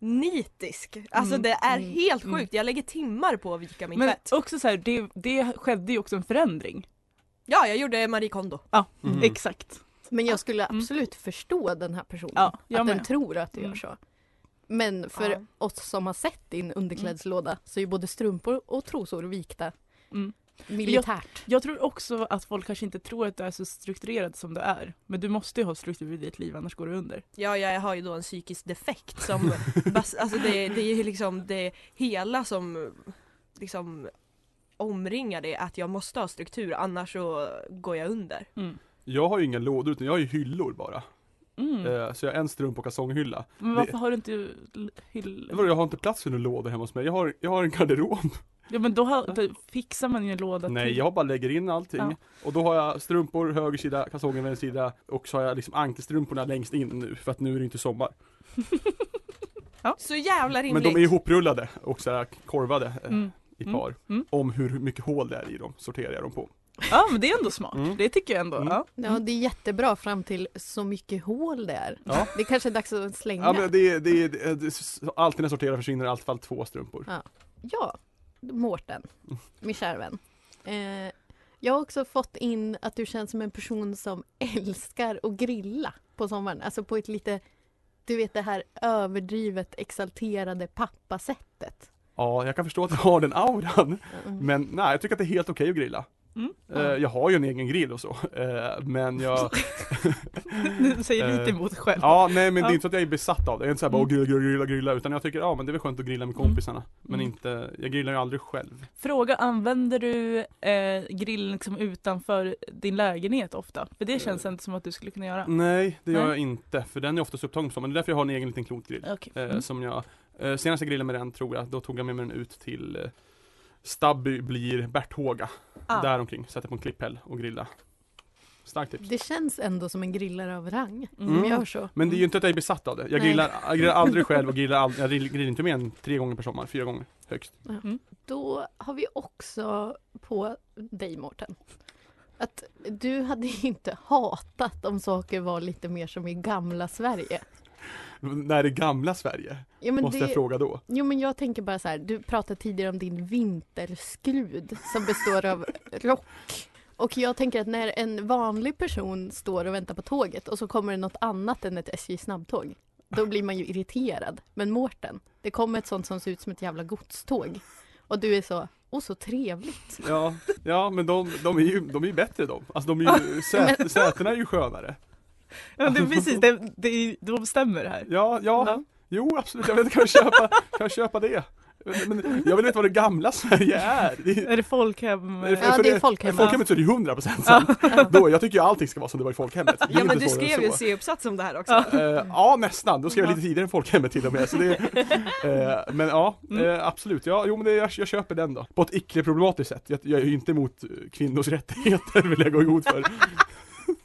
S4: nitisk. Alltså det är
S7: Mm.
S4: helt
S7: Mm.
S4: sjukt, jag lägger timmar på att vika min
S3: Men
S4: tvätt.
S3: också så här, det, det skedde ju också en förändring.
S4: Ja, jag gjorde Marie Kondo.
S3: Ja,
S2: Mm.
S3: exakt.
S7: Men jag skulle
S3: Mm.
S7: absolut förstå den här personen.
S3: Ja, jag
S7: att den
S3: med.
S7: tror att det gör
S3: Mm.
S7: så. Men för
S4: Ja.
S7: oss som har sett din underklädslåda så är ju både strumpor och trosor vikta.
S3: Mm.
S7: Militärt.
S3: Jag tror också att folk kanske inte tror att du är så strukturerad som du är. Men du måste ju ha struktur i ditt liv annars går du under.
S4: Ja, jag har ju då en psykisk defekt som, bas, alltså det, det är ju liksom det hela som liksom omringar det att jag måste ha struktur annars så går jag under.
S3: Mm.
S2: Jag har ju inga lådor utan jag har ju hyllor bara.
S3: Mm.
S2: Eh, Så jag har en strump och kalsonghylla.
S3: men varför har du inte hyll...
S2: Vadå, Jag har inte plats för några lådor hemma hos mig. Jag har, jag har en garderob.
S3: Ja men då, har, då fixar man ju en låda
S2: Nej,
S3: till.
S2: jag bara lägger in allting.
S3: typ? Ja.
S2: Och då har jag strumpor höger sida, kalsonger vänster sida och så har jag liksom ankelstrumporna längst in nu för att nu är det inte sommar.
S4: Så jävla rimligt!
S2: Men de är ihoprullade och så här korvade eh,
S3: Mm.
S2: i par.
S3: mm.
S2: Om hur mycket hål det är i dem sorterar jag dem på.
S3: Ja men det är ändå smart.
S2: Mm.
S3: Det tycker jag ändå.
S2: Mm.
S3: Ja.
S7: Ja, det är jättebra fram till så mycket hål det är.
S2: Ja.
S7: Det kanske är dags att slänga.
S2: Ja men det, det, det, det alltid när jag sorterar försvinner i alla fall två strumpor.
S7: Ja, Mårten, min kära vän. Eh, jag har också fått in att du känns som en person som älskar att grilla på sommaren. Alltså på ett lite, du vet det här överdrivet exalterade pappasättet.
S2: Ja, jag kan förstå att jag har den auran.
S7: Mm.
S2: Men nej, jag tycker att det är helt okej att grilla.
S3: Mm.
S2: Eh, Jag har ju en egen grill och så, eh, men jag
S3: Du säger lite
S2: Eh,
S3: emot själv.
S2: Ja, nej men det
S3: Ja.
S2: är inte så att jag är besatt av det. Jag är inte såhär bara
S3: Mm.
S2: "Åh, grilla, grilla, grilla, grilla, utan jag tycker ja men det är väl skönt att grilla med
S3: Mm.
S2: kompisarna. Men
S3: Mm.
S2: inte, jag grillar ju aldrig själv.
S3: Fråga, använder du eh, grillen liksom utanför din lägenhet ofta? För det
S2: Eh.
S3: känns inte som att du skulle kunna göra.
S2: Mm. Nej, det gör
S3: Nej.
S2: jag inte, för den är oftast upptagen på sommaren. Det är därför jag har en egen liten klotgrill.
S3: Okej.
S2: Eh,
S3: Mm.
S2: Som jag, eh, senast jag grillade med den tror jag, då tog jag med mig den ut till eh, Stabby blir Berthåga.
S3: Ah.
S2: Däromkring, sätta på en klipphäll och grilla. Starkt tips.
S7: Det känns ändå som en grillare av rang,
S3: Mm.
S7: om jag gör så.
S2: Men det är ju inte att jag är besatt av det. Jag
S7: Nej.
S2: grillar, jag grillar aldrig själv och grillar, aldrig, jag grill- grillar inte mer än tre gånger per sommar, fyra gånger högst.
S7: Då har vi också på dig Mårten. Att du hade inte hatat om saker var lite mer som i gamla Sverige.
S2: När det gamla Sverige,
S7: Ja, men
S2: måste
S7: det,
S2: jag fråga då.
S7: Jo men jag tänker bara så här, du pratade tidigare om din vinterskrud som består av rock. Och jag tänker att när en vanlig person står och väntar på tåget och så kommer det något annat än ett SJ snabbtåg. Då blir man ju irriterad. Men Mårten, det kommer ett sånt som ser ut som ett jävla godståg. Och du är så, åh så trevligt.
S2: Ja, ja men de, de är ju de är ju bättre de. Alltså de är ju, sät, sätena är ju skönare.
S3: Ja, det, är precis, det, det, är- de stämmer här.
S2: Ja, ja,
S3: Ja.
S2: jo absolut, jag vet inte, kan jag köpa, kan jag köpa det? Men jag vill veta vad det gamla Sverige är. Det är
S3: Är det folkhem?
S2: Är det
S7: Ja
S2: för
S7: det är
S2: det- I
S7: folkhemmet.
S2: folkhemmet så är det ju 100% sant. Då, jag tycker ju allting ska vara som det var i folkhemmet. Det är
S4: Ja
S2: inte
S4: men du
S2: svårare än
S4: skrev ju
S2: så.
S4: en C-uppsats om det här också.
S3: Ja.
S2: Eh, ja nästan, då skrev jag lite tidigare än folkhemmet till och med. Så det, eh, men ja, eh, absolut. Ja, jo men det, jag, jag köper den då. På ett icke problematiskt sätt. Jag, jag är ju inte emot eh, kvinnors rättigheter vill jag gå emot för.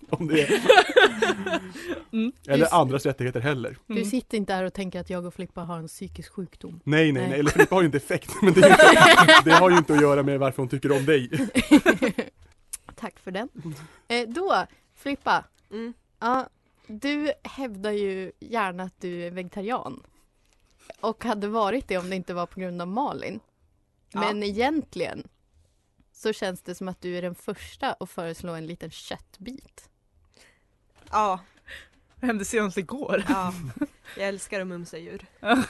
S2: Om det är.
S3: Mm.
S2: Eller andras rättigheter heller.
S7: Du sitter inte där och tänker att jag och Flippa har en psykisk sjukdom.
S2: Nej nej
S7: Nej.
S2: nej, eller Filippa har ju inte effekt. Men det, är ju- det har ju inte att göra med varför hon tycker om dig.
S7: Tack för den. Eh, då, Flippa.
S4: Mm.
S7: Ja, du hävdar ju gärna att du är vegetarian. Och hade varit det om det inte var på grund av Malin.
S4: Ja.
S7: Men egentligen så känns det som att du är den första att föreslå en liten köttbit.
S4: Ja,
S3: Det hände senast igår.
S4: ja. Jag älskar att mumsa djur.
S7: Mm.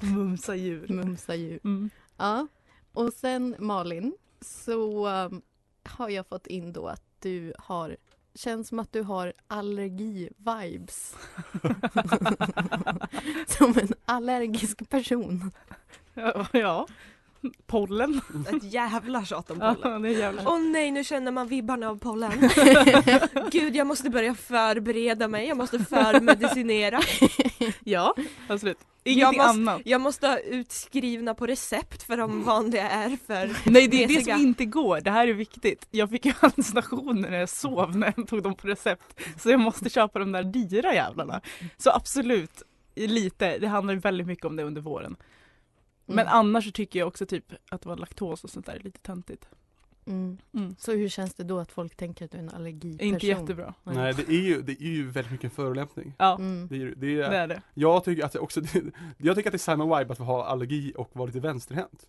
S3: Mumsa djur.
S7: Mumsa djur.
S3: Mm.
S7: Ja. Och sen Malin, så um, har jag fått in då att du har, känns som att du har allergi-vibes. som en allergisk person. Mm.
S3: Ja, ja. Pollen.
S4: Ett jävla tjat om
S3: Ja,
S4: pollen.
S3: det är jävla...
S4: Åh nej, nu känner man vibbarna av pollen. Gud, jag måste börja förbereda mig, jag måste förmedicinera.
S3: Ja, absolut. Ingenting
S4: måste-
S3: annat.
S4: Jag måste ha utskrivna på recept för de vanliga är för
S3: Nej det är det
S4: mesiga.
S3: som inte går, det här är viktigt. Jag fick ju hallucinationer när jag sov när jag tog dem på recept. Så jag måste köpa de där dyra jävlarna. Så absolut, lite. Det handlar ju väldigt mycket om det under våren. Men
S7: Mm.
S3: annars så tycker jag också typ att vara laktos och sånt där är lite töntigt.
S7: Mm.
S3: Mm.
S7: Så hur känns det då att folk tänker att du är en allergiperson?
S3: Inte jättebra.
S2: Nej det är ju, det är ju väldigt mycket en förolämpning.
S3: Ja,
S7: Mm.
S2: Det är, ju- det är,
S3: det är det.
S2: Jag tycker att det också, jag tycker att det är samma vibe att ha allergi och vara lite vänsterhänt.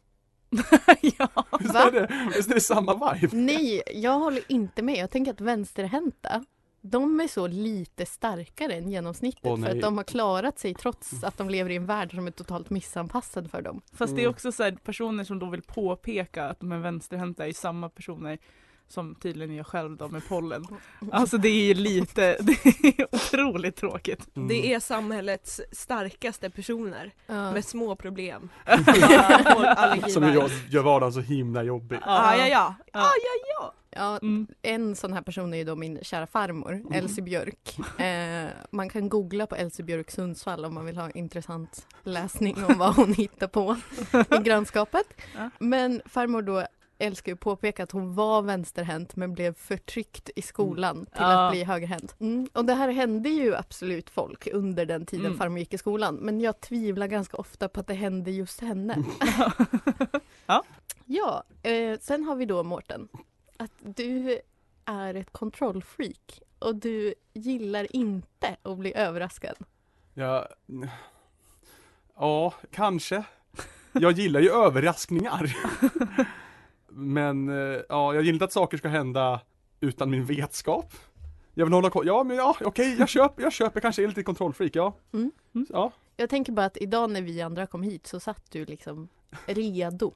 S3: ja.
S2: Visst
S7: Va?
S2: är det, visst är det samma vibe?
S7: Nej, jag håller inte med. Jag tänker att vänsterhänta de är så lite starkare än genomsnittet
S2: Åh,
S7: för
S2: nej.
S7: att de har klarat sig trots att de lever i en värld som är totalt missanpassad för dem.
S3: Fast det är
S2: Mm.
S3: också så här, personer som då vill påpeka att de är vänsterhänta är ju samma personer som tydligen jag själv då med pollen. Alltså det är ju lite, det är otroligt tråkigt.
S2: Mm.
S4: Det är samhällets starkaste personer
S7: Ja.
S4: med små problem.
S2: Som ju gör, Alltså, gör vardagen så himla jobbig.
S4: Ah, ja, ja.
S3: Ja.
S7: Ja,
S3: Mm.
S7: en sån här person är ju då min kära farmor,
S3: Mhm.
S7: Elsie Björk. Eh, man kan googla på Elsie Björk Sundsvall om man vill ha intressant läsning om vad hon hittar på i grannskapet.
S3: Ja.
S7: Men farmor då älskar ju att påpeka att hon var vänsterhänt men blev förtryckt i skolan till
S3: Mm. Ja.
S7: att bli högerhänt. Mm. Och det här hände ju absolut folk under den tiden
S3: Mm.
S7: farmor gick i skolan men jag tvivlar ganska ofta på att det hände just henne. Ja, eh, sen har vi då Mårten. Att du är ett kontrollfreak och du gillar inte att bli överraskad.
S2: Ja, ja, kanske. Jag gillar ju överraskningar. Men eh, ja, jag gillar inte att saker ska hända utan min vetskap. Jag vill hålla koll. Ja, men ja, okej, jag köper, jag köper. Kanske är lite kontrollfreak, ja.
S7: Mm.
S3: Mm.
S2: Ja,
S7: Jag tänker bara att idag när vi andra kom hit så satt du liksom redo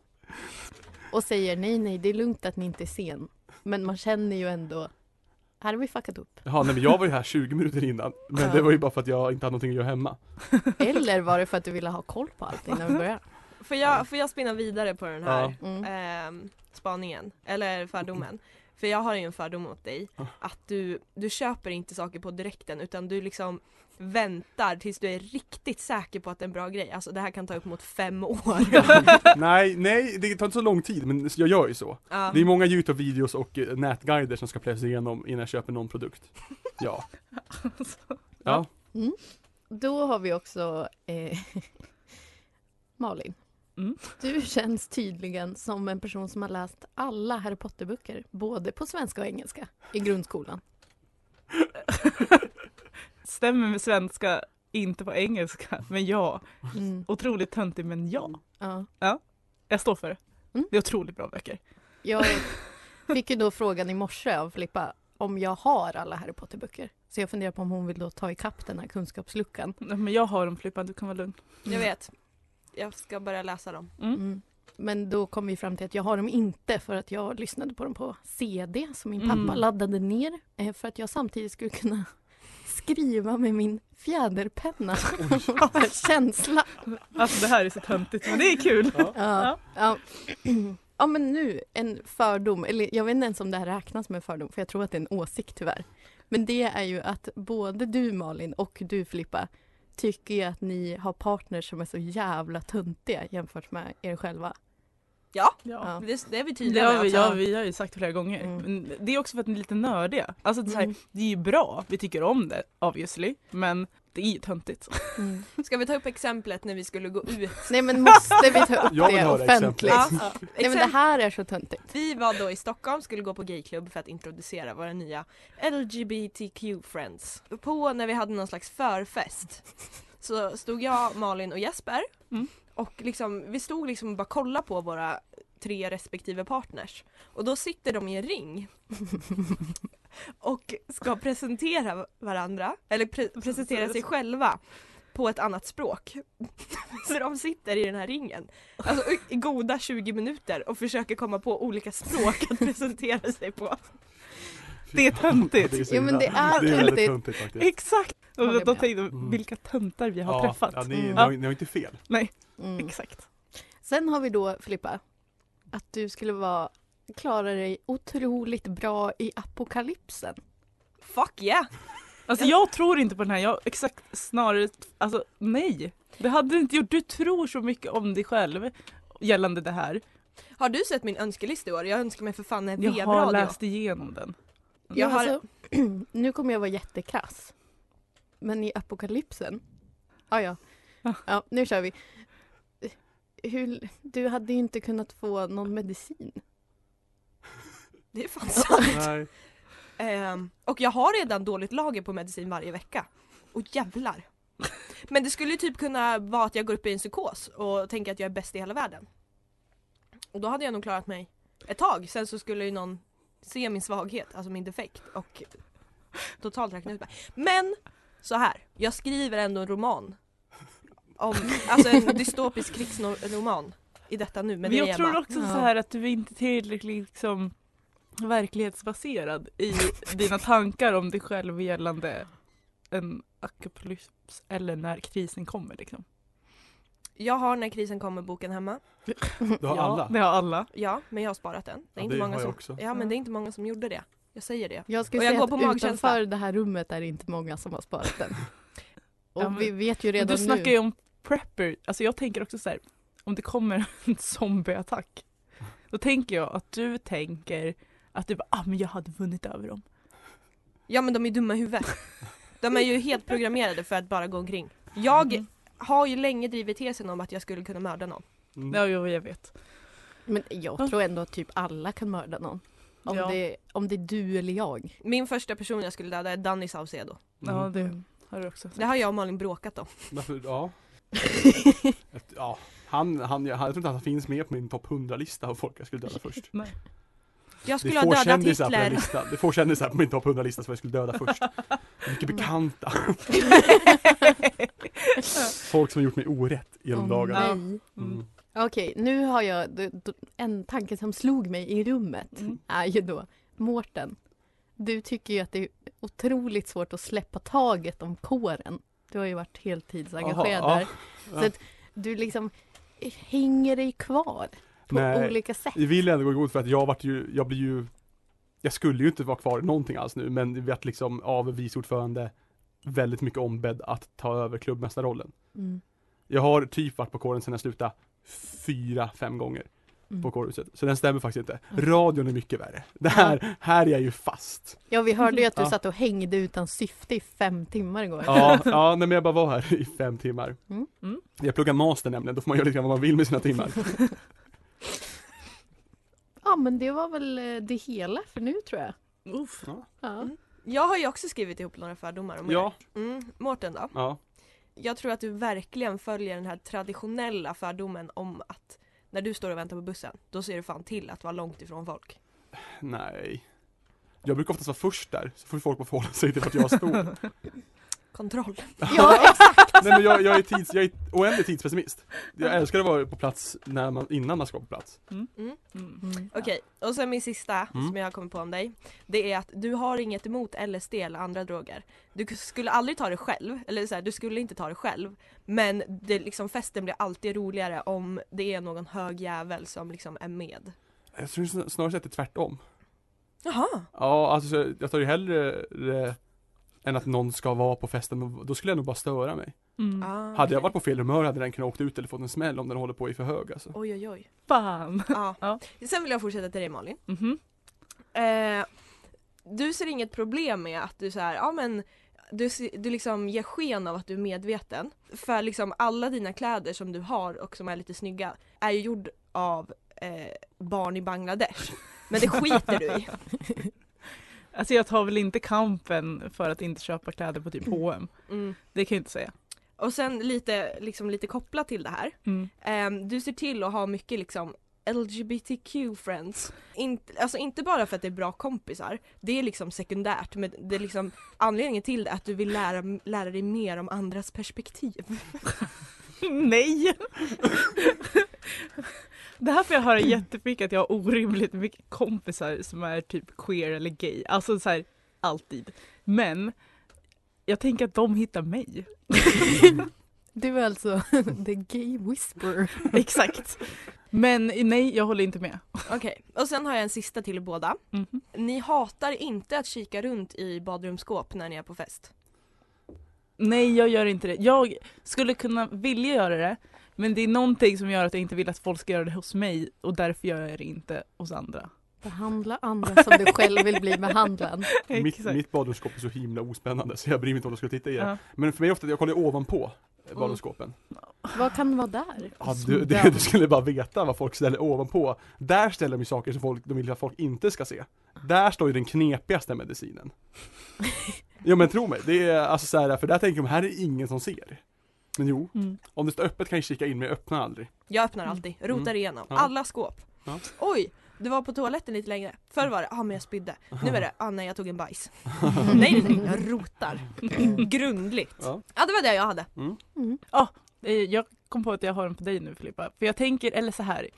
S7: och säger nej, nej, det är lugnt att ni inte är sen. Men man känner ju ändå, här har vi fuckat upp.
S2: Jaha, nej men jag var ju här 20 minuter innan. Men
S7: Ja.
S2: det var ju bara för att jag inte hade någonting att göra hemma.
S7: Eller var det för att du ville ha koll på allt innan vi började?
S4: Får jag, får jag spinna vidare på den här
S7: Mm.
S4: ehm, spaningen, eller fördomen? För jag har ju en fördom mot dig, att du, du köper inte saker på direkten utan du liksom väntar tills du är riktigt säker på att det är en bra grej. Alltså det här kan ta upp mot fem år.
S2: nej, nej, det tar inte så lång tid, men jag gör ju så.
S4: Ja.
S2: Det är många Youtube-videos och eh, nätguider som ska plöjas igenom innan jag köper någon produkt. Ja. Ja.
S7: Då har vi också eh, Malin.
S3: Mm.
S7: Du känns tydligen som en person som har läst alla Harry Potter-böcker, både på svenska och engelska, i grundskolan.
S3: Stämmer med svenska, inte på engelska, men ja.
S7: Mm,
S3: Otroligt töntig, men ja.
S7: ja.
S3: Jag står för det.
S7: Mm.
S3: Det är otroligt bra böcker.
S7: Jag fick ju då frågan i morse av Filippa om jag har alla Harry Potter-böcker. Så jag funderar på om hon vill då ta ikapp den här kunskapsluckan.
S3: Nej, Men jag har dem Filippa, du kan vara lugn.
S4: Jag vet. Jag ska börja läsa dem.
S7: Mm. Men då kom vi fram till att jag har dem inte för att jag lyssnade på dem på CD som min pappa
S3: Mm.
S7: laddade ner eh, för att jag samtidigt skulle kunna skriva med min fjäderpenna. Känsla.
S3: Alltså det här är så töntigt, men det är kul.
S7: Ja. Ja. ja men nu en fördom, eller jag vet inte ens om det här räknas som en fördom för jag tror att det är en åsikt tyvärr. Men det är ju att både du Malin och du Filippa tycker ju att ni har partners som är så jävla töntiga jämfört med er själva.
S4: Ja,
S3: Ja.
S7: Ja.
S4: det, det är vi
S3: Det
S4: tydliga
S3: har vi,
S4: också.
S3: ja, vi har ju sagt flera gånger.
S7: Mm.
S3: Men Det är också för att ni är lite nördiga. Alltså det är, så
S7: Mm.
S3: här, det är ju bra, vi tycker om det obviously, men det är ju töntigt.
S7: Mm.
S4: Ska vi ta upp exemplet när vi skulle gå ut?
S7: Nej men måste vi ta upp
S2: Jag vill
S7: det
S2: höra
S7: offentligt?
S4: Ja,
S7: Nej men det här är så töntigt.
S4: Vi var då i Stockholm, skulle gå på gayklubb för att introducera våra nya LGBTQ-friends. På när vi hade någon slags förfest så stod jag, Malin och Jesper
S3: Mm.
S4: och liksom, vi stod liksom och bara kollade på våra tre respektive partners och då sitter de i en ring och ska presentera varandra, eller pre- presentera sig själva på ett annat språk. Så de sitter i den här ringen Alltså i goda 20 minuter och försöker komma på olika språk att presentera sig på.
S3: Det är töntigt.
S2: Det är så
S7: Jo, men
S2: himla-
S7: det är
S2: det är väldigt
S7: töntigt.
S2: töntigt faktiskt.
S3: Exakt!
S7: Håller
S3: Och då
S7: med.
S3: tänkte jag,
S2: Mm.
S3: vilka töntar vi har träffat.
S2: Ja, ni,
S7: Mm.
S2: ni, har, ni har inte fel.
S7: Mm.
S3: Exakt.
S7: Sen har vi då Filippa, att du skulle vara klara dig otroligt bra i apokalypsen.
S4: Fuck yeah!
S3: Alltså jag tror inte på den här, jag exakt snarare, alltså nej. Det hade du inte gjort, du tror så mycket om dig själv gällande det här.
S4: Har du sett min önskelista i år? Jag önskar mig för fan en
S3: Jag har
S4: vebradio.
S3: läst igenom den.
S4: Jag
S7: Men
S4: har-
S7: alltså, nu kommer jag vara jättekrass. Men i apokalypsen? Ah, ja,
S3: Ja.
S7: ja. Nu kör vi. Hur, du hade ju inte kunnat få någon medicin.
S4: Det är fan sant.
S2: Nej.
S4: Ehm, och jag har redan dåligt lager på medicin varje vecka. Och jävlar. Men det skulle ju typ kunna vara att jag går upp i en psykos och tänker att jag är bäst i hela världen. Och då hade jag nog klarat mig ett tag. Sen så skulle ju någon se min svaghet, alltså min defekt och totalt räknat ut mig. Men så här, jag skriver ändå en roman. Om, alltså en dystopisk krigsroman i detta nu med
S3: Men jag
S4: dig
S3: tror
S4: Emma.
S3: också så här att du är inte tillräckligt liksom, verklighetsbaserad i dina tankar om dig själv gällande en akapolyps eller när krisen kommer. Liksom.
S4: Jag har När krisen kommer boken hemma.
S2: Du har
S3: ja,
S2: alla.
S3: Det har alla.
S4: Ja, men jag har sparat den.
S2: Ja,
S4: Det är inte
S2: det
S4: många
S2: har jag
S4: som,
S2: också.
S4: Ja, men det är inte många som gjorde det. Jag säger det.
S7: Jag ska
S4: Och jag
S7: säga
S4: går
S7: att
S4: på magkänsla.
S7: utanför det här rummet är det inte många som har sparat den. Och
S3: Ja, men-
S7: vi vet ju redan
S3: du snackar
S7: nu.
S3: ju om prepper. Alltså jag tänker också så här, om det kommer en zombieattack, då tänker jag att du tänker att du bara, ah men jag hade vunnit över dem.
S4: Ja men de är dumma i huvudet. De är ju helt programmerade för att bara gå omkring. Jag
S3: Mm.
S4: har ju länge drivit tesen om att jag skulle kunna mörda någon.
S2: Mm.
S3: Ja, jo, jag vet.
S7: Men jag tror ändå att typ alla kan mörda någon. Om,
S3: ja.
S7: det, om det är du eller jag.
S4: Min första person jag skulle döda är Danny Saucedo.
S3: ja,
S2: Mm.
S3: det har du också sagt.
S4: Det har jag och Malin bråkat om.
S2: Varför, ja. Ett- ja. Han, han, jag, jag tror inte att han finns med på min topp 100-lista av folk jag skulle döda först.
S4: Jag
S2: Det
S4: skulle
S2: är
S4: ha
S2: få
S4: dödat
S2: kändisar på den
S4: Hitler.
S2: listan. Det är få kändisar på min topp 100-lista som jag skulle döda först. Det är Mycket bekanta. Folk som har gjort mig orätt genom
S7: Åh,
S2: dagarna.
S7: nej.
S2: Mm.
S7: Okej, nu har jag d- d- en tanke som slog mig i rummet.
S3: Mm.
S7: Är ju då, Mårten. Du tycker ju att det är otroligt svårt att släppa taget om kåren. Du har ju varit heltidsengagerad
S2: Jaha, ja.
S7: där. Så att du liksom hänger dig kvar på
S2: Nej.
S7: olika sätt.
S2: Vi vill ändå gå i god för att jag vart ju, jag blir ju Jag skulle ju inte vara kvar i någonting alls nu men vi vart liksom av vice ordförande Väldigt mycket ombedd att ta över klubbmästarrollen
S7: Mm.
S2: Jag har typ varit på kåren sedan jag slutade Fyra, fem gånger på
S7: Mm.
S2: kårhuset Så den stämmer faktiskt inte Radion är mycket värre Det här, här är jag ju fast
S7: Ja, vi hörde ju att du
S2: Ja.
S7: satt och hängde utan syfte i fem timmar igår.
S2: Ja, ja nej, men jag bara var här i fem timmar
S7: Mm.
S3: Mm.
S2: Jag pluggar master nämligen, då får man göra lite grann vad man vill med sina timmar
S7: Ja, men det var väl eh, det hela för nu tror jag.
S3: Mm. Uff.
S7: Ja.
S4: Jag har ju också skrivit ihop några fördomar om
S2: Ja,
S4: er. Mm, Mårten då?
S2: ja
S4: Jag tror att du verkligen följer den här traditionella fördomen om att när du står och väntar på bussen, då ser du fan till att vara långt ifrån folk.
S2: Nej. Jag brukar oftast vara först där, så får folk bara förhålla sig till vart jag står.
S4: Kontroll.
S7: Ja,
S2: Nej men jag, jag är tids, jag är oändlig tidspessimist. Jag älskar att vara på plats när man, innan man ska vara på plats.
S3: Mm.
S7: Mm.
S4: Okej, och sen min sista
S2: Mm.
S4: som jag har kommit på om dig. Det är att du har inget emot LSD eller andra droger. Du k- skulle aldrig ta det själv, eller så här, du skulle inte ta det själv. Men det, liksom, festen blir alltid roligare om det är någon hög jävel som liksom är med.
S2: Jag tror sn- snarare att det är tvärtom.
S4: Jaha!
S2: Ja, alltså så jag tar ju hellre det än att någon ska vara på festen, men då skulle jag nog bara störa mig.
S3: Mm.
S4: Ah,
S2: Hade jag
S4: okej.
S2: varit på fel humör hade den kunnat åkt ut eller fått en smäll om den håller på i för hög alltså.
S4: Oj oj oj.
S3: Fan.
S4: Ja.
S3: Ja.
S4: Sen vill jag fortsätta till dig Malin.
S3: Mhm.
S4: Eh, du ser inget problem med att du så här, ja men du, se- du liksom ger sken av att du är medveten. För liksom alla dina kläder som du har och som är lite snygga är ju gjord av eh, barn i Bangladesh. Men det skiter du i.
S3: Alltså jag tar väl inte kampen för att inte köpa kläder på typ H&M.
S4: Mm.
S3: Det kan jag inte säga.
S4: Och sen lite, liksom lite kopplat till det här. Ehm, du ser till att ha mycket liksom LGBTQ friends. In, alltså inte bara för att det är bra kompisar, det är liksom sekundärt men det är liksom anledningen till det är att du vill lära, lära dig mer om andras perspektiv.
S3: Nej! det här får jag höra jättemycket att jag har orimligt mycket kompisar som är typ queer eller gay. Alltså så här, alltid. Men jag tänker att de hittar mig.
S7: Du är alltså the gay whisperer.
S3: Exakt. Men nej, jag håller inte med.
S4: Okej, och sen har jag en sista till er båda.
S3: Mhm.
S4: Ni hatar inte att kika runt i badrumsskåp när ni är på fest.
S3: Nej, jag gör inte det. Jag skulle kunna vilja göra det, men det är någonting som gör att jag inte vill att folk ska göra det hos mig och därför gör jag det inte hos andra.
S7: Behandla andra som du själv vill bli behandlad.
S2: Mitt,
S3: Exakt.
S2: mitt badrumsskåp är så himla ospännande så jag bryr mig inte om de skulle titta i det.
S3: Ja.
S2: Men för mig är det ofta att jag kollar ovanpå eh, badrumsskåpen.
S7: Vad kan vara där?
S2: Ja, du, du, du skulle bara veta vad folk ställer ovanpå. Där ställer de ju saker som folk, de vill att folk inte ska se. Där står ju den knepigaste medicinen. Jo men tro mig, det är alltså så här, för där tänker de här är ingen som ser. Men jo,
S3: Mm.
S2: om det står öppet kan jag kika in men jag öppnar aldrig.
S4: Jag öppnar alltid, rotar igenom,
S2: Mm. Ja.
S4: alla skåp.
S2: Ja.
S4: Oj, Du var på toaletten lite längre. Förr var det, ah men jag spydde. Nu är det, ah nej jag tog en bajs. nej, nej, nej, jag rotar.
S2: Mm.
S4: Grundligt.
S2: Ja. mm.
S4: Ja. det var det jag hade.
S3: Eh, Jag kom på att jag har en på dig nu Filippa. För jag tänker, eller så här.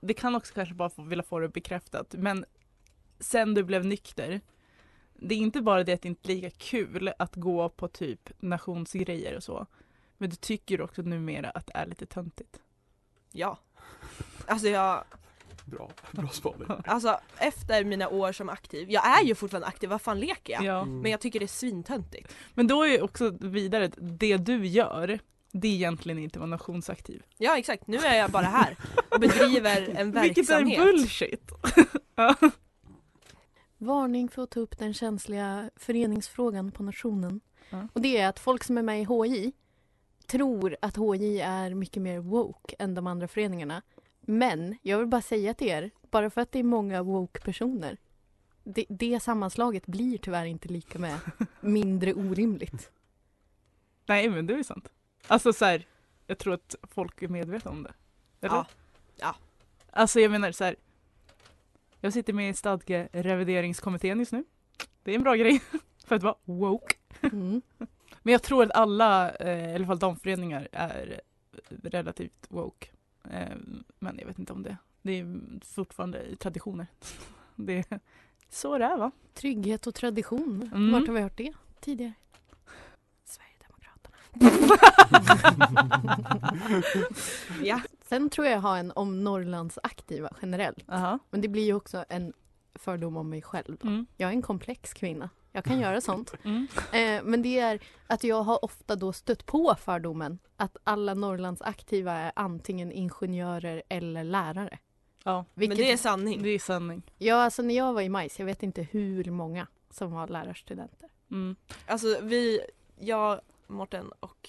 S3: Det kan också kanske bara få, vilja få det bekräftat. Men sen du blev nykter. Det är inte bara det att det inte är lika kul att gå på typ nationsgrejer och så. Men du tycker också numera att det är lite töntigt.
S4: Ja. Alltså jag,
S2: Bra, bra spaning.
S4: alltså efter mina år som aktiv, jag är ju fortfarande aktiv, vad fan leker jag?
S2: Mm.
S3: Ja.
S4: Men jag tycker det är svintöntigt.
S3: Men då är ju också vidare att det du gör, det är egentligen inte vara nationsaktiv.
S4: Ja exakt, nu är jag bara här och bedriver en
S3: Vilket är
S4: verksamhet.
S3: bullshit!
S7: Varning för att ta upp den känsliga föreningsfrågan på nationen.
S3: Ja.
S7: Och det är att folk som är med i HI tror att HI är mycket mer woke än de andra föreningarna. Men jag vill bara säga till er, bara för att det är många woke-personer, det, det sammanslaget blir tyvärr inte lika med mindre orimligt.
S3: Nej men det är ju sant. Alltså så här, jag tror att folk är medvetna om det. Eller?
S4: Ja. Ja.
S3: Alltså jag menar så här. Jag sitter med i stadgerevideringskommittén just nu. Det är en bra grej för att vara woke.
S7: Mm.
S3: Men jag tror att alla, eh, i alla fall damföreningar, är relativt woke. Eh, men jag vet inte om det. Det är fortfarande traditioner. Det är så det är va?
S7: Trygghet och tradition,
S3: Mm.
S7: vart har vi hört det tidigare? Sverigedemokraterna.
S4: Ja.
S7: Sen tror jag har en om Norrlands aktiva generellt.
S3: Aha.
S7: Men det blir ju också en fördom om mig själv. Då.
S3: Mm.
S7: Jag är en komplex kvinna. Jag kan göra sånt.
S3: Mm.
S7: Eh, men det är att jag har ofta då stött på fördomen att alla Norrlands aktiva är antingen ingenjörer eller lärare.
S3: Ja,
S7: Vilket,
S4: Men det är sanning.
S3: det är sanning.
S7: Ja, alltså när jag var i majs, jag vet inte hur många som var lärarstudenter.
S3: Mm.
S4: Alltså vi, jag, Morten och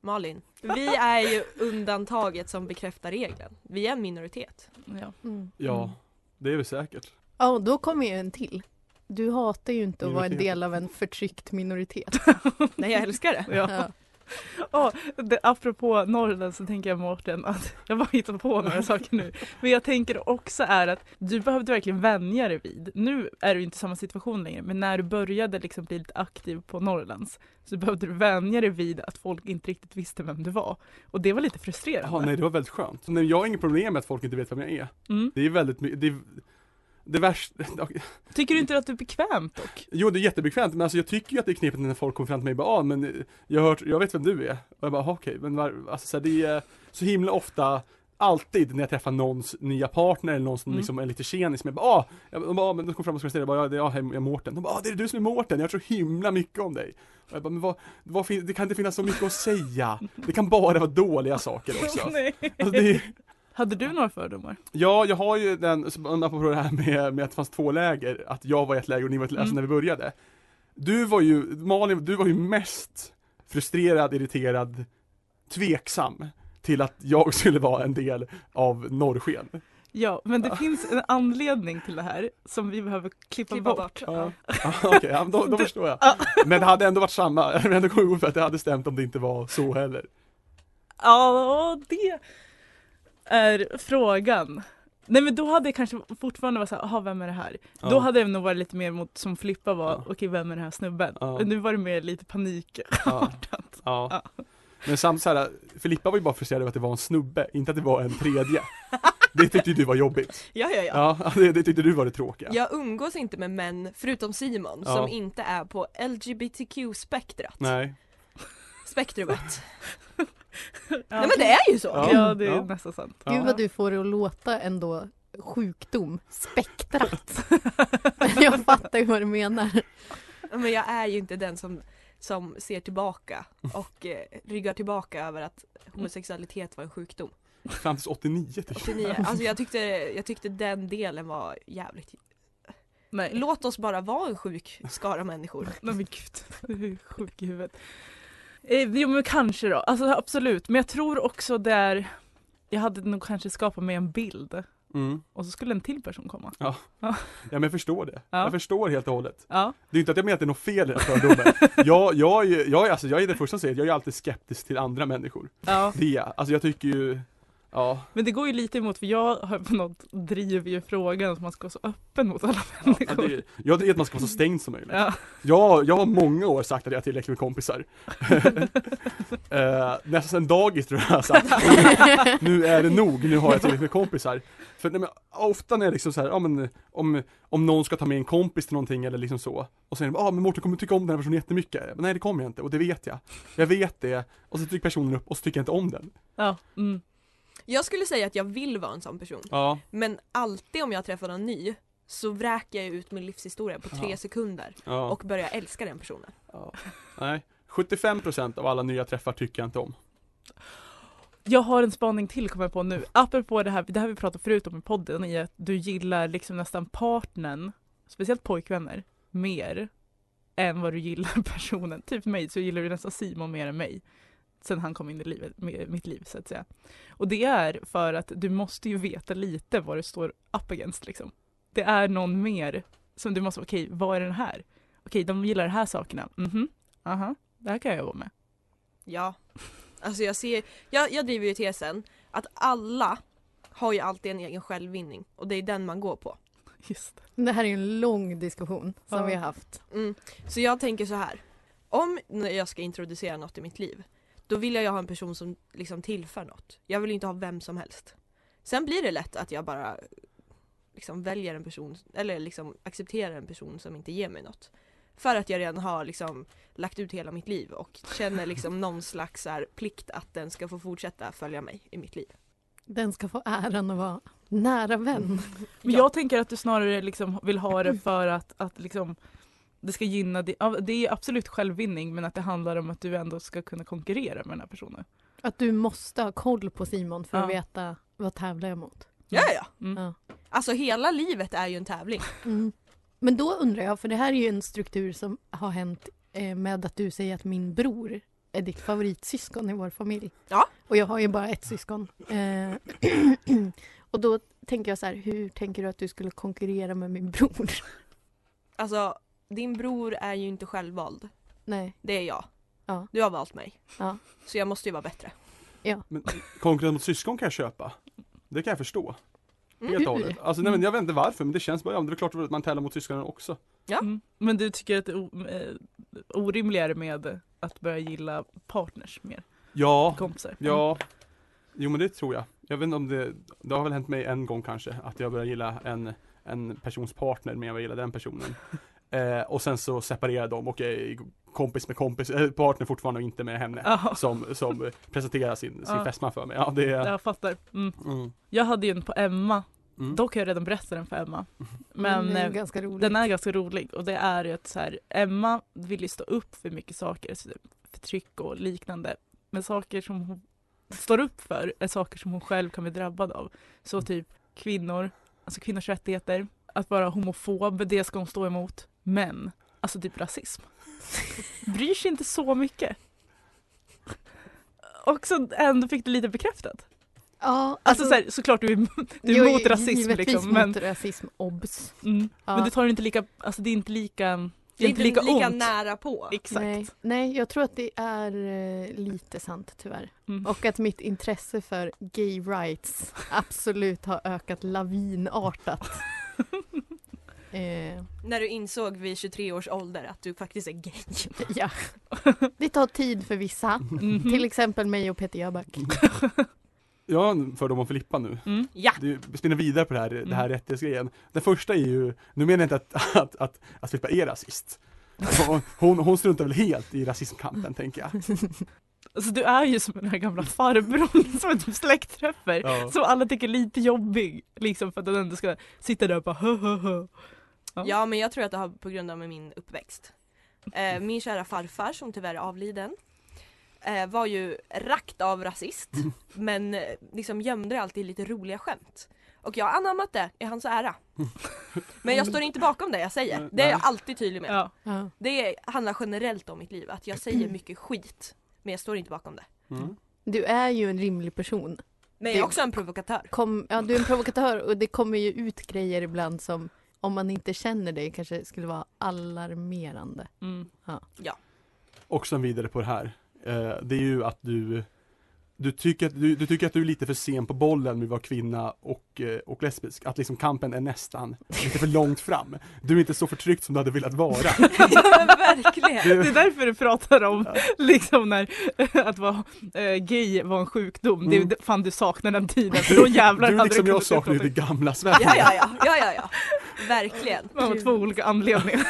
S4: Malin, vi är ju undantaget som bekräftar regeln. Vi är en minoritet.
S3: Ja.
S7: Mm.
S2: Ja, det är vi säkert.
S7: Ja, och då kommer ju en till. Du hatar ju inte att vara en
S2: Minoritet.
S7: del av en förtryckt minoritet.
S4: Nej jag älskar det.
S3: Ja.
S7: Ja.
S3: Ja, det, apropå Norrland så tänker jag Mårten att jag bara hittar på några saker nu. Men jag tänker också är att du behövde verkligen vänja dig vid. Nu är du inte i samma situation längre men när du började liksom bli lite aktiv på Norrlands så behövde du vänja dig vid att folk inte riktigt visste vem du var. Och det var lite frustrerande.
S2: Ja, nej det var väldigt skönt. Nej, jag har inget problem med att folk inte vet vem jag är.
S3: Mm.
S2: Det är väldigt my- det, är- det värsta,
S3: Tycker du inte att det är bekvämt dock?
S2: jo det är jättebekvämt men alltså jag tycker ju att det är knepigt när folk kommer fram till mig och bara ah, men eh, jag har hört, jag vet vem du är. Och jag bara "Ah, okej, men var, alltså så här, det är så himla ofta Alltid när jag träffar någons nya partner eller någon som
S3: Mm.
S2: liksom är lite tjenis, men jag bara ah, jag, de bara, ah, men de kom fram och skulle säga bara, ja, det är jag, jag är Mårten. De bara, ah, det är du som är Mårten, jag tror himla mycket om dig. Och jag bara, men vad, vad fin- det kan inte finnas så mycket att säga. Det kan bara vara dåliga saker också.
S3: Nej.
S2: Alltså, det är,
S3: Hade du några fördomar?
S2: Ja, jag har ju den, som- apropå det här med, med att det fanns två läger, att jag var i ett läger och ni var i ett läger, alltså när
S3: Mm.
S2: vi började. Du var ju, Malin, du var ju mest frustrerad, irriterad, tveksam till att jag skulle vara en del av norrsken.
S3: Ja, men det finns en anledning till det här som vi behöver klippa,
S4: Klippa
S3: bort.
S4: bort.
S2: Ja. Ah, Okej, ja, men då, då förstår jag. Men det hade ändå varit samma, jag hade kommit ihåg för att det hade stämt om det inte var så heller.
S3: Ja, det är frågan. Nej men då hade jag kanske fortfarande varit såhär, jaha vem är det här?
S2: Ja.
S3: Då hade jag nog varit lite mer mot som Flippa var,
S2: Ja.
S3: okej vem är den här snubben?
S2: Ja.
S3: Men Nu var det mer lite panik.
S2: Ja. ja. Men samt så här, Filippa var ju bara frustrerad över att det var en snubbe, inte att det var en tredje. Det tyckte ju du var jobbigt.
S4: Ja, ja, ja.
S2: Ja, det, det tyckte du var det tråkiga.
S4: Jag umgås inte med män, förutom Simon,
S2: Ja.
S4: som inte är på LGBTQ-spektrat.
S2: Nej.
S4: Spektrumet.
S3: Ja.
S4: Nej men det är ju så!
S2: Ja.
S3: Ja det är
S2: Ja.
S3: nästan sant.
S2: Ja.
S7: Gud vad du får det att låta ändå sjukdom, spektrat. Men jag fattar ju vad du menar.
S4: Men jag är ju inte den som, som ser tillbaka och eh, ryggar tillbaka över att homosexualitet var en sjukdom.
S2: Fram tills 89 typ.
S4: 89. Alltså jag tyckte, jag tyckte den delen var jävligt...
S3: Nej,
S4: Låt oss bara vara en sjuk skara människor.
S3: Nej men gud, du är sjuk i huvudet. Eh, jo men kanske då, alltså absolut. Men jag tror också där, jag hade nog kanske skapat mig en bild
S2: Mm.
S3: och så skulle en till person komma.
S2: Ja men jag förstår det.
S3: Ja.
S2: Jag förstår helt och hållet.
S3: Ja.
S2: Det är inte att jag menar att det är något fel i den här fördomen. jag, jag, är ju- jag, är- alltså, jag är den första som säger att jag är alltid skeptisk till andra människor.
S3: ja.
S2: Det är jag. Alltså jag tycker ju Ja.
S3: Men det går ju lite emot för jag har på något driver ju frågan att man ska vara så öppen mot alla
S2: Ja,
S3: människor.
S2: men det, jag tycker att man ska vara så stängd som möjligt.
S3: Ja.
S2: Jag, jag har många år sagt att jag har tillräckligt med kompisar. eh, nästan sen dagis tror jag jag har sagt. nu är det nog, nu har jag tillräckligt med kompisar. För nej, men, ofta när jag liksom så här, ja, men, om, om någon ska ta med en kompis till någonting eller liksom så. Och så är det, ja ah, men Mårten kommer du tycka om den här personen jättemycket. Men, nej det kommer jag inte och det vet jag. Jag vet det. Och så trycker personen upp och så tycker jag inte om den.
S3: Ja, mm.
S4: Jag skulle säga att jag vill vara en sån person.
S2: Ja.
S4: Men alltid om jag träffar någon ny så vräker jag ut min livshistoria på tre
S2: Ja.
S4: sekunder
S2: ja.
S4: och börjar älska den personen.
S2: Nej. 75% av alla nya träffar tycker jag inte om.
S3: Jag har en spaning till kommer jag på nu. Apropå det här, det här vi pratade förut om i podden i att du gillar liksom nästan partnern, speciellt pojkvänner, mer än vad du gillar personen. Typ mig så gillar du nästan Simon mer än mig. Sen han kom in i livet, med mitt liv så att säga. Och det är för att du måste ju veta lite vad du står up against liksom. Det är någon mer som du måste, okej vad är den här? Okej de gillar de här sakerna, mhm, aha, det här kan jag vara med.
S4: Ja. Alltså jag ser, jag, jag driver ju tesen att alla har ju alltid en egen självvinning och det är den man går på.
S3: Just det.
S7: Det här är ju en lång diskussion som
S3: Ja.
S7: vi har haft.
S4: Mm. Så jag tänker så här. Om när jag ska introducera något i mitt liv, då vill jag ju ha en person som liksom tillför något. Jag vill inte ha vem som helst. Sen blir det lätt att jag bara liksom väljer en person, eller liksom accepterar en person som inte ger mig något. För att jag redan har liksom lagt ut hela mitt liv och känner liksom någon slags så här plikt att den ska få fortsätta följa mig i mitt liv.
S7: Den ska få äran att vara nära vän.
S3: Men
S4: Ja.
S3: jag tänker att du snarare liksom vill ha det för att, att liksom det ska gynna di- ja, Det är absolut självvinning men att det handlar om att du ändå ska kunna konkurrera med den här personen.
S7: Att du måste ha koll på Simon för att
S3: Ja.
S7: veta vad tävlar jag mot.
S4: Ja, ja.
S3: Mm.
S7: Ja.
S4: Alltså hela livet är ju en tävling.
S7: Mm. Men då undrar jag, för det här är ju en struktur som har hänt eh, med att du säger att min bror är ditt favoritsyskon i vår familj.
S4: Ja.
S7: Och jag har ju bara ett syskon. Eh, och då tänker jag så här, hur tänker du att du skulle konkurrera med min bror?
S4: Alltså, din bror är ju inte självvald.
S7: Nej.
S4: Det är jag.
S7: Ja.
S4: Du har valt mig.
S7: Ja.
S4: Så jag måste ju vara bättre.
S2: Men konkurrens mot syskon kan jag köpa. Det kan jag förstå.
S4: Mm.
S2: Helt och hållet. Alltså nej men jag vet inte varför men det känns bara, ja, men det är klart att man tävlar mot syskonen också.
S4: Ja.
S3: Mm. Men du tycker att det är o- eh, orimligare med att börja gilla partners mer?
S2: Ja,
S3: Kompisar?
S2: ja. Jo men det tror jag. Jag vet inte om det, det har väl hänt mig en gång kanske att jag börjar gilla en, en persons partner mer än vad jag gillar den personen. Eh, och sen så separerar de och är kompis med kompis, eh, partner fortfarande och inte med henne.
S3: Mm. Ja,
S2: Som, som presenterar sin, sin
S3: Ja.
S2: fästman för mig. Ja det är...
S3: jag fattar. Mm.
S2: Mm.
S3: Jag hade ju en på Emma,
S2: Mm.
S3: dock har jag redan berättat den för Emma. Men,
S7: den är
S3: eh,
S7: ju ganska rolig.
S3: Den är ganska rolig och det är ju att så här, Emma vill ju stå upp för mycket saker, så typ förtryck och liknande. Men saker som hon står upp för är saker som hon själv kan bli drabbad av. Så
S7: Mm.
S3: typ kvinnor, alltså kvinnors rättigheter, att vara homofob, det ska hon stå emot. Men, alltså typ rasism. Bryr sig inte så mycket. Och så ändå fick det lite bekräftat.
S7: Ja,
S3: Alltså, så här, såklart du är, du
S7: jag
S3: är mot rasism
S7: givetvis
S3: liksom.
S7: mot
S3: Men,
S7: rasism, obs.
S3: mm,
S7: Ja.
S3: men det tar inte lika, alltså det är inte lika
S4: Det är
S3: inte
S4: inte
S3: lika
S4: lika,
S3: ont.
S4: nära på.
S3: Exakt.
S7: Nej, nej, jag tror att det är eh, lite sant tyvärr.
S3: Mm.
S7: Och att mitt intresse för gay rights absolut har ökat lavinartat. eh,
S4: När du insåg vid 23 års ålder att du faktiskt är gay.
S7: ja. Det tar tid för vissa,
S3: Mhm.
S7: till exempel mig och Peter Jöback.
S2: Jag har en fördom om Filippa nu.
S3: Mm.
S4: Ja!
S2: Du spinner vidare på det här, det här rättighetsgrejen. Den första är ju, nu menar jag inte att, att, att, att Filippa är rasist. Hon, hon, hon struntar väl helt i rasismkampen tänker jag.
S3: Alltså du är ju som den här gamla farbrorn som är typ släktträffar.
S2: Ja.
S3: Som alla tycker är lite jobbig. Liksom för att den ändå ska sitta där och bara hö, hö, hö. Ja.
S4: Ja men jag tror att det har på grund av min uppväxt. Eh, min kära farfar som tyvärr är avliden eh, var ju rakt av rasist men eh, liksom gömde det alltid i lite roliga skämt. Och jag har anammat det i hans ära. Men jag står inte bakom det jag säger. Det är jag alltid tydlig med.
S3: Ja.
S7: Ja.
S4: Det handlar generellt om mitt liv, att jag säger mycket skit men jag står inte bakom det.
S2: Mm.
S7: Du är ju en rimlig person.
S4: Men jag är
S7: Det-
S4: också en provokatör.
S7: Kom, ja, du är en provokatör och det kommer ju ut grejer ibland som om man inte känner dig kanske skulle vara alarmerande.
S3: Mm.
S2: Och sen vidare på det här. Eh, det är ju att du du tycker, att, du, du tycker att du är lite för sen på bollen med att vara kvinna och, eh, och lesbisk. Att liksom kampen är nästan lite för långt fram. Du är inte så förtryckt som du hade velat vara.
S4: ja men verkligen!
S3: Det är därför du pratar om liksom när, att vara eh, gay var en sjukdom. Det är
S2: Mm.
S3: ju- fan du saknar den tiden. För då jävlar
S2: du
S3: hade
S2: liksom
S3: du
S2: jag
S3: kunnat
S2: saknar ju
S3: uttala
S2: det
S3: dig.
S2: gamla Sverige.
S4: Ja, ja, ja, ja, ja, ja. Verkligen.
S3: Man har två olika anledningar.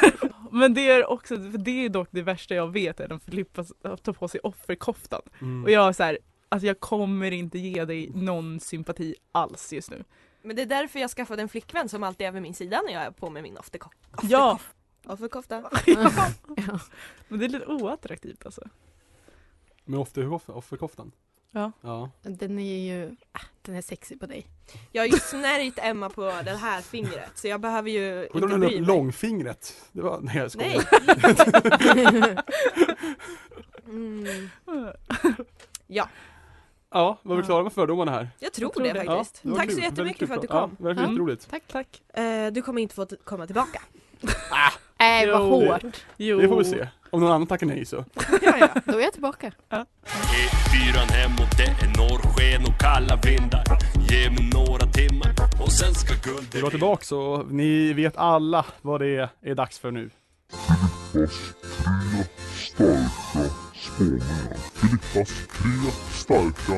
S3: Men det är också, för det är dock det värsta jag vet är när Filippa tar på sig offerkoftan.
S2: Mm.
S3: Och jag är så här, alltså jag kommer inte ge dig någon sympati alls just nu.
S4: Men det är därför jag skaffade en flickvän som alltid är vid min sida när jag är på med min aftercock.
S3: Ja,
S4: Offerkofta.
S7: Ja.
S3: men det är lite oattraktivt alltså.
S2: Med offer- offerkoftan.
S3: Ja.
S2: ja.
S7: Den är ju, ah, den är sexig på dig.
S4: Jag har ju snärjt Emma på det här fingret så jag behöver ju
S2: Och då
S4: inte
S2: höll
S4: bry
S2: upp
S4: mig.
S2: långfingret. Det var, nej jag skojar.
S4: Nej. Mm. Ja,
S2: Ja, var vi klara med fördomarna här?
S4: jag tror,
S3: tror
S4: det,
S3: det.
S4: faktiskt.
S2: det var
S4: Tack
S2: kul.
S4: så
S2: Väldigt kul
S4: jättemycket för att du
S2: prat.
S4: kom.
S2: Ja, verkligen
S7: Mm.
S2: roligt.
S3: Tack. Tack.
S4: Eh, Du kommer inte få t- komma tillbaka.
S7: Nej Äh, vad
S3: Jo.
S7: hårt.
S3: Jo.
S2: Det får vi
S4: Oh.
S2: se. Om någon annan tackar nej så.
S7: Då är jag tillbaka.
S1: E4 hemåt, det är norrsken och kalla vindar. Ge mig några timmar och sen ska
S2: Vi var
S1: guldet in.
S2: tillbaka så ni vet alla vad det är, är dags för nu.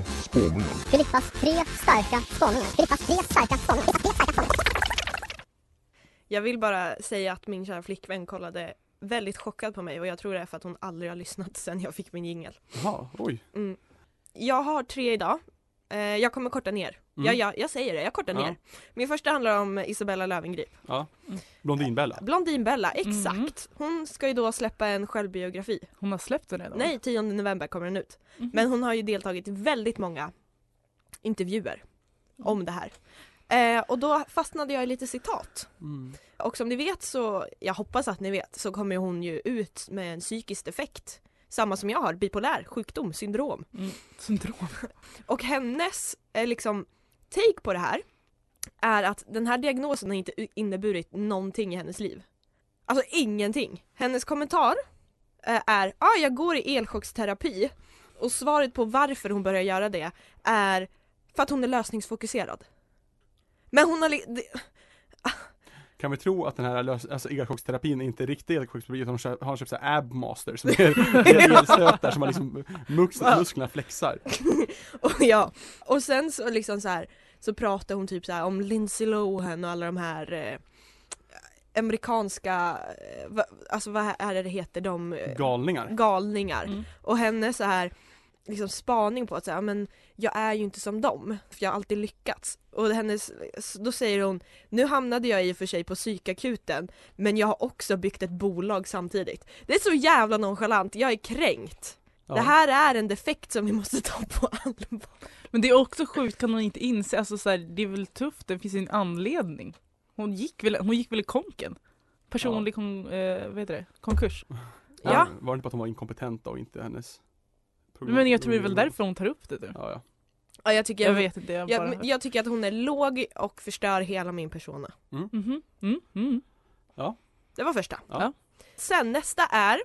S9: Filippas tre starka spaningar. Filippas tre starka spaningar.
S4: Jag vill bara säga att min kära flickvän kollade väldigt chockad på mig och jag tror det är för att hon aldrig har lyssnat sen jag fick min jingel.
S2: Jaha, oj.
S4: Mm. Jag har tre idag. Eh, jag kommer korta ner.
S2: Mm.
S4: Jag, jag, jag säger det, jag kortar
S2: Ja.
S4: ner. Min första handlar om Isabella Löwengrip.
S2: Mm. Blondinbella.
S4: Blondinbella,
S2: Mm.
S4: exakt.
S3: Mhm.
S4: Hon ska ju då släppa en självbiografi.
S3: Hon har släppt den redan?
S4: Nej, 10 november kommer den ut.
S3: Mhm.
S4: Men hon har ju deltagit i väldigt många intervjuer om det här. Eh, och då fastnade jag i lite citat.
S2: Mm.
S4: Och som ni vet så, jag hoppas att ni vet, så kommer hon ju ut med en psykisk defekt. Samma som jag har, bipolär sjukdom, syndrom.
S3: Syndrom.
S4: Och hennes eh, liksom, take på det här är att den här diagnosen har inte u- inneburit någonting i hennes liv. Alltså ingenting. Hennes kommentar eh, är ah, jag går i elchocksterapi och svaret på varför hon börjar göra det är för att hon är lösningsfokuserad. Men hon har li- det-
S2: Kan vi tro att den här lös- alltså elchocksterapin är inte riktig elchocksterapi utan hon kö- har köpt såhär abmaster som är rejäla elstötar som man liksom mux- musklerna flexar.
S4: och ja. Och sen så liksom så här så pratar hon typ så här om Lindsay Lohan och alla de här eh, amerikanska, eh, va, alltså vad är det det heter, de eh,
S2: Galningar.
S4: galningar.
S3: Mm.
S4: Och henne så här liksom spaning på att säga men jag är ju inte som dem, för jag har alltid lyckats. Och hennes, då säger hon, nu hamnade jag i och för sig på psykakuten, men jag har också byggt ett bolag samtidigt. Det är så jävla nonchalant, jag är kränkt.
S2: Ja.
S4: Det här är en defekt som vi måste ta på allvar.
S3: Men det är också sjukt, kan hon inte inse, alltså så här, det är väl tufft, det finns en anledning. Hon gick väl, hon gick väl i konken? Personlig kon, eh, vad heter det? konkurs.
S2: Ja.
S4: Ja.
S2: Var det inte på att hon var inkompetent och inte hennes Mm.
S3: Men jag tror det är väl därför hon tar upp det nu.
S2: Ja, ja.
S4: Ja, jag, tycker
S3: Jag vet inte, jag bara...
S4: Jag, jag tycker att hon är låg och förstör hela min persona.
S3: Mhm, mm, mm.
S4: Det var första.
S2: Ja.
S4: Sen nästa är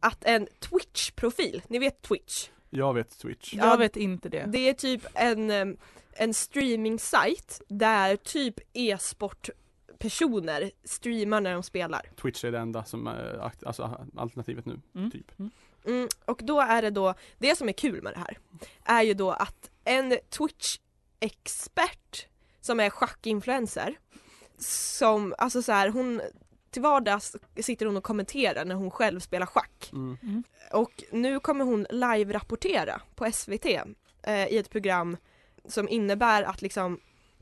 S4: att en Twitch-profil, ni vet Twitch?
S2: Jag vet Twitch.
S4: Ja,
S3: Jag vet inte det.
S4: Det är typ en, em, en streaming-sajt där typ e-sportpersoner streamar när de spelar.
S2: Twitch är det enda som är akt- alltså, alternativet nu.
S4: Mm, och då är det då, det som är kul med det här är ju då att en Twitch-expert som är schackinfluencer som, alltså så här, hon till vardags sitter hon och kommenterar när hon själv spelar schack.
S2: Mm.
S4: Och nu kommer hon live-rapportera på SVT eh, i ett program som innebär att liksom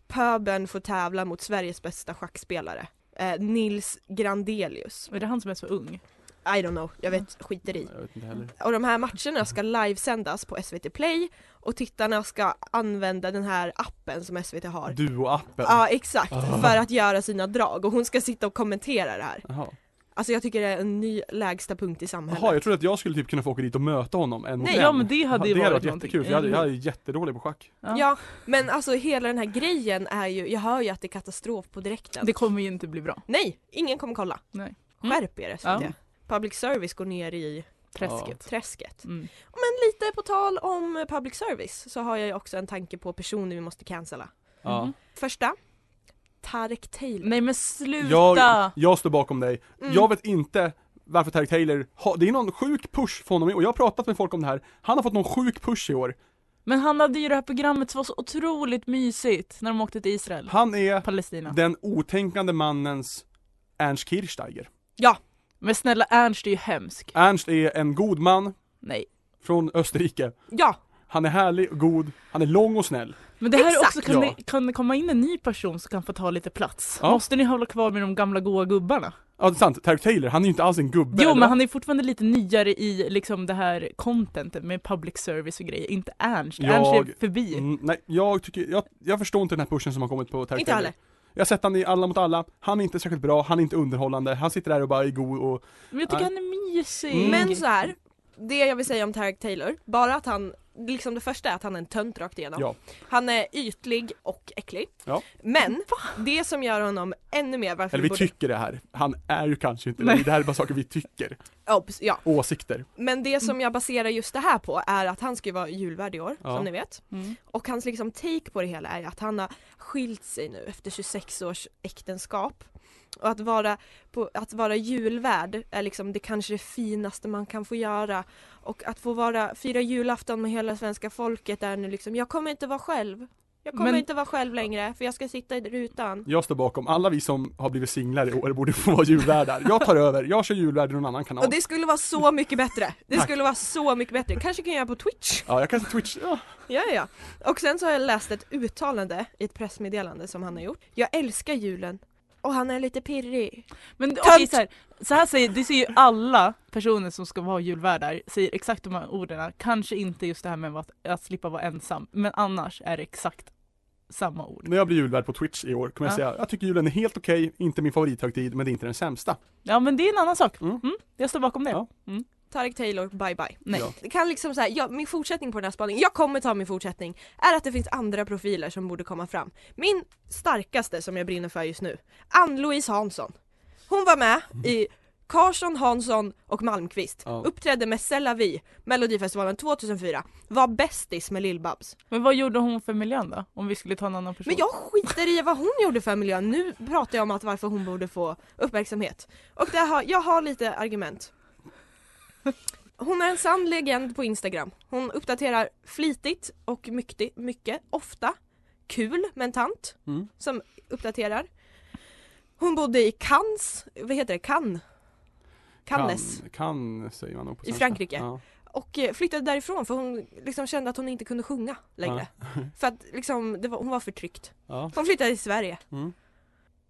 S4: pöbeln får tävla mot Sveriges bästa schackspelare. Eh, Nils Grandelius.
S3: Är det han som är så ung?
S4: I don't know, jag vet, skiter i.
S2: Jag vet inte heller.
S4: Och de här matcherna ska livesändas på SVT Play och tittarna ska använda den här appen som SVT har.
S2: Duo-appen.
S4: Ja exakt,
S2: Ah.
S4: för att göra sina drag och hon ska sitta och kommentera det här.
S2: Jaha.
S4: Alltså jag tycker det är en ny lägsta punkt i samhället.
S2: Jaha, jag trodde att jag skulle typ kunna få åka dit och möta honom en mot
S4: Nej,
S2: en.
S3: ja, men det hade ju
S2: det hade varit
S3: varit någonting. Mm.
S2: jättekul för jag, hade, jag är jättedålig på schack.
S3: Ja.
S4: Ja, men alltså hela den här grejen är ju, jag hör ju att det är katastrof på direkten.
S3: Mm. Det kommer ju inte bli bra.
S4: Nej, ingen kommer kolla.
S3: Nej. Mm.
S4: Skärp er SVT.
S3: Ja.
S4: Public service går ner i
S3: Träsket.
S4: Träsket.
S3: Mm.
S4: Men lite på tal om public service så har jag ju också en tanke på personer vi måste cancella.
S3: Mhm.
S2: Ja.
S4: Första, Tarek Taylor.
S3: Nej men sluta!
S2: Jag, jag står bakom dig.
S4: Mm.
S2: Jag vet inte varför Tarek Taylor har, det är någon sjuk push från honom i- och jag har pratat med folk om det här. Han har fått någon sjuk push i år.
S3: Men han hade ju det här programmet som var så otroligt mysigt när de åkte till Israel.
S2: Han är
S3: Palestina.
S2: den otänkande mannens Ernst Kirchsteiger.
S3: Men snälla Ernst är ju hemsk.
S2: Ernst är en god man
S3: Nej.
S2: från Österrike.
S4: Ja,
S2: Han är härlig och god, han är lång och snäll.
S3: Men det här
S4: Exakt.
S3: också, kan,
S2: Ja.
S3: det, kan det komma in en ny person som kan få ta lite plats?
S2: Ja.
S3: Måste ni hålla kvar med de gamla goa gubbarna?
S2: Ja det är sant, Tarek Taylor, han är ju inte alls en gubbe.
S3: Jo
S2: eller
S3: men
S2: vad?
S3: han är fortfarande lite nyare i liksom det här contentet med public service och grejer, inte Ernst.
S2: Jag-
S3: Ernst är förbi.
S2: Mm, nej, jag tycker, jag, jag förstår inte den här pushen som har kommit på Tarek
S4: inte
S2: Taylor.
S4: heller.
S2: Jag har sett han i Alla mot alla, han är inte särskilt bra, han är inte underhållande, han sitter där och bara är god och
S3: Men jag tycker
S2: Nej.
S3: han är mysig.
S2: Mm.
S4: Men så här, det jag vill säga om Tarek Taylor, bara att han, liksom det första är att han är en tönt rakt igenom.
S2: Ja.
S4: Han är ytlig och äcklig.
S2: Ja.
S4: Men det som gör honom ännu mer varför
S2: Eller vi
S4: borde-
S2: tycker det här, han är ju kanske inte
S3: Nej.
S2: det, det här är bara saker vi tycker,
S4: Ja, precis, ja.
S2: åsikter.
S4: Men det som jag baserar just det här på är att han ska ju vara julvärd i år,
S2: Mm. Ja.
S4: som ni vet.
S3: Mm.
S4: Och hans liksom take på det hela är att han har skilt sig nu efter 26 års äktenskap. Och att vara, på, att vara julvärd är liksom det kanske det finaste man kan få göra. Och att få vara, fira julafton med hela svenska folket är nu liksom, jag kommer inte vara själv. Jag kommer
S3: Men-
S4: inte vara själv längre för jag ska sitta i rutan.
S2: Jag står bakom, alla vi som har blivit singlar i år borde få vara julvärdar. Jag tar över, jag kör julvärd i någon annan kanal.
S4: Och det skulle vara så mycket bättre! Det
S2: Tack.
S4: skulle vara så mycket bättre. Kanske kan jag göra på Twitch.
S2: Ja, jag kanske Twitch, ja.
S4: Ja, ja, ja. Och sen så har jag läst ett uttalande i ett pressmeddelande som han har gjort. Jag älskar julen. Och han är lite pirrig.
S3: Men okej
S4: Tönt!
S3: så här, så här säger, det säger ju alla personer som ska vara julvärdar, säger exakt de här orden. Kanske inte just det här med att, att slippa vara ensam, men annars är det exakt samma ord.
S2: När jag blir julvärd på Twitch i år kommer jag
S3: Ja.
S2: säga, jag tycker julen är helt okej, inte min favorithögtid, men det är inte den sämsta.
S3: Ja men det är en annan sak.
S2: Mm.
S3: Mm. jag står bakom det. Mm.
S2: Ja.
S4: Tarek Taylor, bye bye.
S3: Nej.
S2: Ja.
S4: Det kan liksom så här, ja, min fortsättning på den här spaningen, jag kommer ta min fortsättning, är att det finns andra profiler som borde komma fram. Min starkaste som jag brinner för just nu, Ann-Louise Hansson. Hon var med i Karlsson, Hansson och Malmqvist.
S2: Ja.
S4: Uppträdde med C'est la vie, Melodifestivalen 2004. Var bästis med Lill-Babs.
S3: Men vad gjorde hon för miljön då? Om vi skulle ta en annan person?
S4: Men jag skiter i vad hon gjorde för miljön, nu pratar jag om att varför hon borde få uppmärksamhet. Och där har, jag har lite argument. Hon är en sann legend på Instagram. Hon uppdaterar flitigt och mycket, mycket ofta. Kul med en tant
S2: Mm.
S4: som uppdaterar. Hon bodde i Cannes, vad heter det, Cannes? Cannes.
S2: Kan, kan säger man nog på
S4: I
S2: svenska.
S4: Frankrike.
S2: Ja.
S4: Och eh, flyttade därifrån för hon liksom kände att hon inte kunde sjunga längre. För att liksom, det var, hon var förtryckt.
S2: Ja.
S4: Hon flyttade till Sverige.
S2: Mm.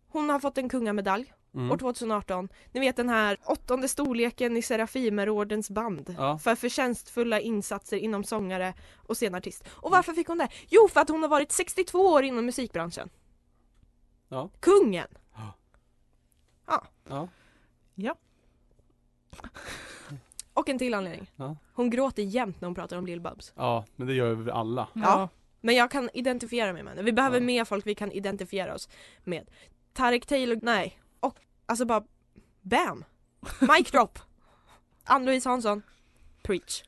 S4: Hon har fått en kungamedalj
S2: Mm.
S4: år 2018. Ni vet den här åttonde storleken i Serafimerordens band.
S2: Ja.
S4: För förtjänstfulla insatser inom sångare och scenartist. Och varför fick hon det? Jo, för att hon har varit 62 år inom musikbranschen.
S2: Ja.
S4: Kungen!
S2: Ja.
S4: Och en till anledning.
S2: Ja.
S4: Hon gråter jämt när hon pratar om Lill-Babs.
S2: ja, men det gör vi alla.
S4: Ja. Men jag kan identifiera mig med henne. Vi behöver
S2: Ja.
S4: mer folk vi kan identifiera oss med. Tarek Taylor, nej. Och alltså bara BAM! Mic drop! Ann-Louise Hansson, preach.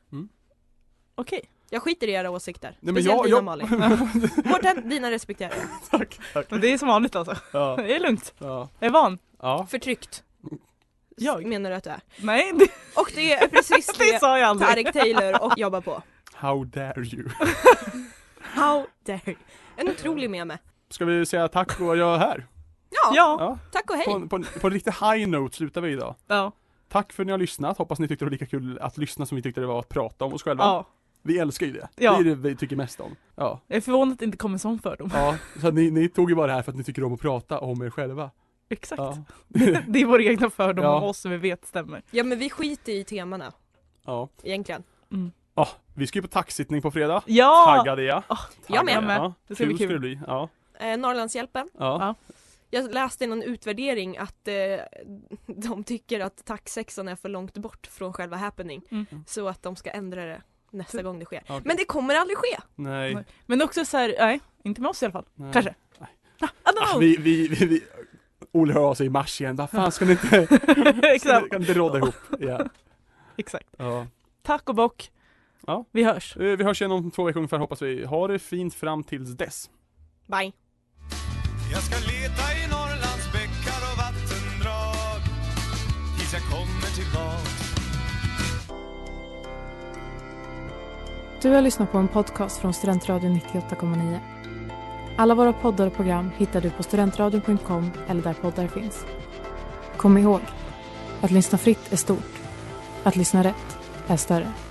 S3: Okej.
S4: Jag skiter i era åsikter.
S2: Nej, men jag-
S4: Speciellt dina
S2: jag-
S4: Malin. Mårten, dina respekterar jag.
S2: Tack, tack.
S3: Men det är som vanligt alltså.
S2: Ja,
S3: Det är lugnt.
S2: ja,
S3: Jag är van.
S2: ja.
S4: Förtryckt.
S3: Jag?
S4: Menar du att du är.
S3: Nej det,
S4: Och det är precis
S3: det
S4: det
S3: sa jag aldrig.
S4: Tarek Taylor och jobbar på.
S2: How dare you.
S4: How dare you. En otrolig meme.
S2: Ska vi säga tack och jag är här?
S4: Ja,
S3: Ja.
S2: Ja.
S4: tack och hej.
S2: På, en- på, en- på en riktigt high note slutar vi idag.
S3: Ja.
S2: Tack för att ni har lyssnat, hoppas ni tyckte det var lika kul att lyssna som vi tyckte det var att prata om oss själva.
S3: ja.
S2: Vi älskar ju det.
S3: Ja.
S2: Det är det vi tycker mest om. Ja.
S3: Jag är förvånad att det inte kom en sån fördom.
S2: Ja, så att ni, ni tog ju bara det här för att ni tycker om att prata om er själva.
S3: Exakt.
S2: Ja.
S3: Det är våra egna fördom
S2: Ja.
S3: om oss som vi vet stämmer.
S4: Ja men vi skiter i temana
S2: ja.
S4: egentligen.
S2: Ja, vi ska ju på taxsittning på fredag.
S3: Ja!
S2: Taggade jag.
S4: Jag med.
S3: Jag med.
S2: Ja,
S3: Det ska bli
S2: ska
S3: kul.
S2: det bli. Ja.
S4: Eh, Norrlandshjälpen.
S2: Ja.
S4: Jag läste i någon utvärdering att eh, de tycker att taxsexan är för långt bort från själva happening.
S3: Mm.
S4: Så att de ska ändra det nästa gång det sker.
S2: Okej.
S4: Men det kommer aldrig ske!
S2: Nej.
S3: Nej. Men också så här, nej, inte med oss i alla fall.
S2: nej.
S3: Kanske.
S2: Mm. Nej.
S3: Ah, I don't
S2: Ah,
S3: know.
S2: vi, vi, vi, vi, Olle hör av sig i mars igen. Vad fan ska ni inte, ska ni,
S3: Exakt.
S2: kan ni inte råda ihop? Ja.
S3: Exakt.
S2: Ja.
S3: Tack och bock.
S2: Ja.
S3: Vi hörs.
S2: Eh, Vi hörs igen om två veckor ungefär hoppas vi. Ha det fint fram tills dess.
S4: Bye.
S1: Jag ska leta i Norrlands bäckar och vattendrag Tills jag kommer tillbaks
S10: Du har lyssnat på en podcast från Studentradion 98,9. Alla våra poddar och program hittar du på studentradion.com eller där poddar finns. Kom ihåg, att lyssna fritt är stort. Att lyssna rätt är större.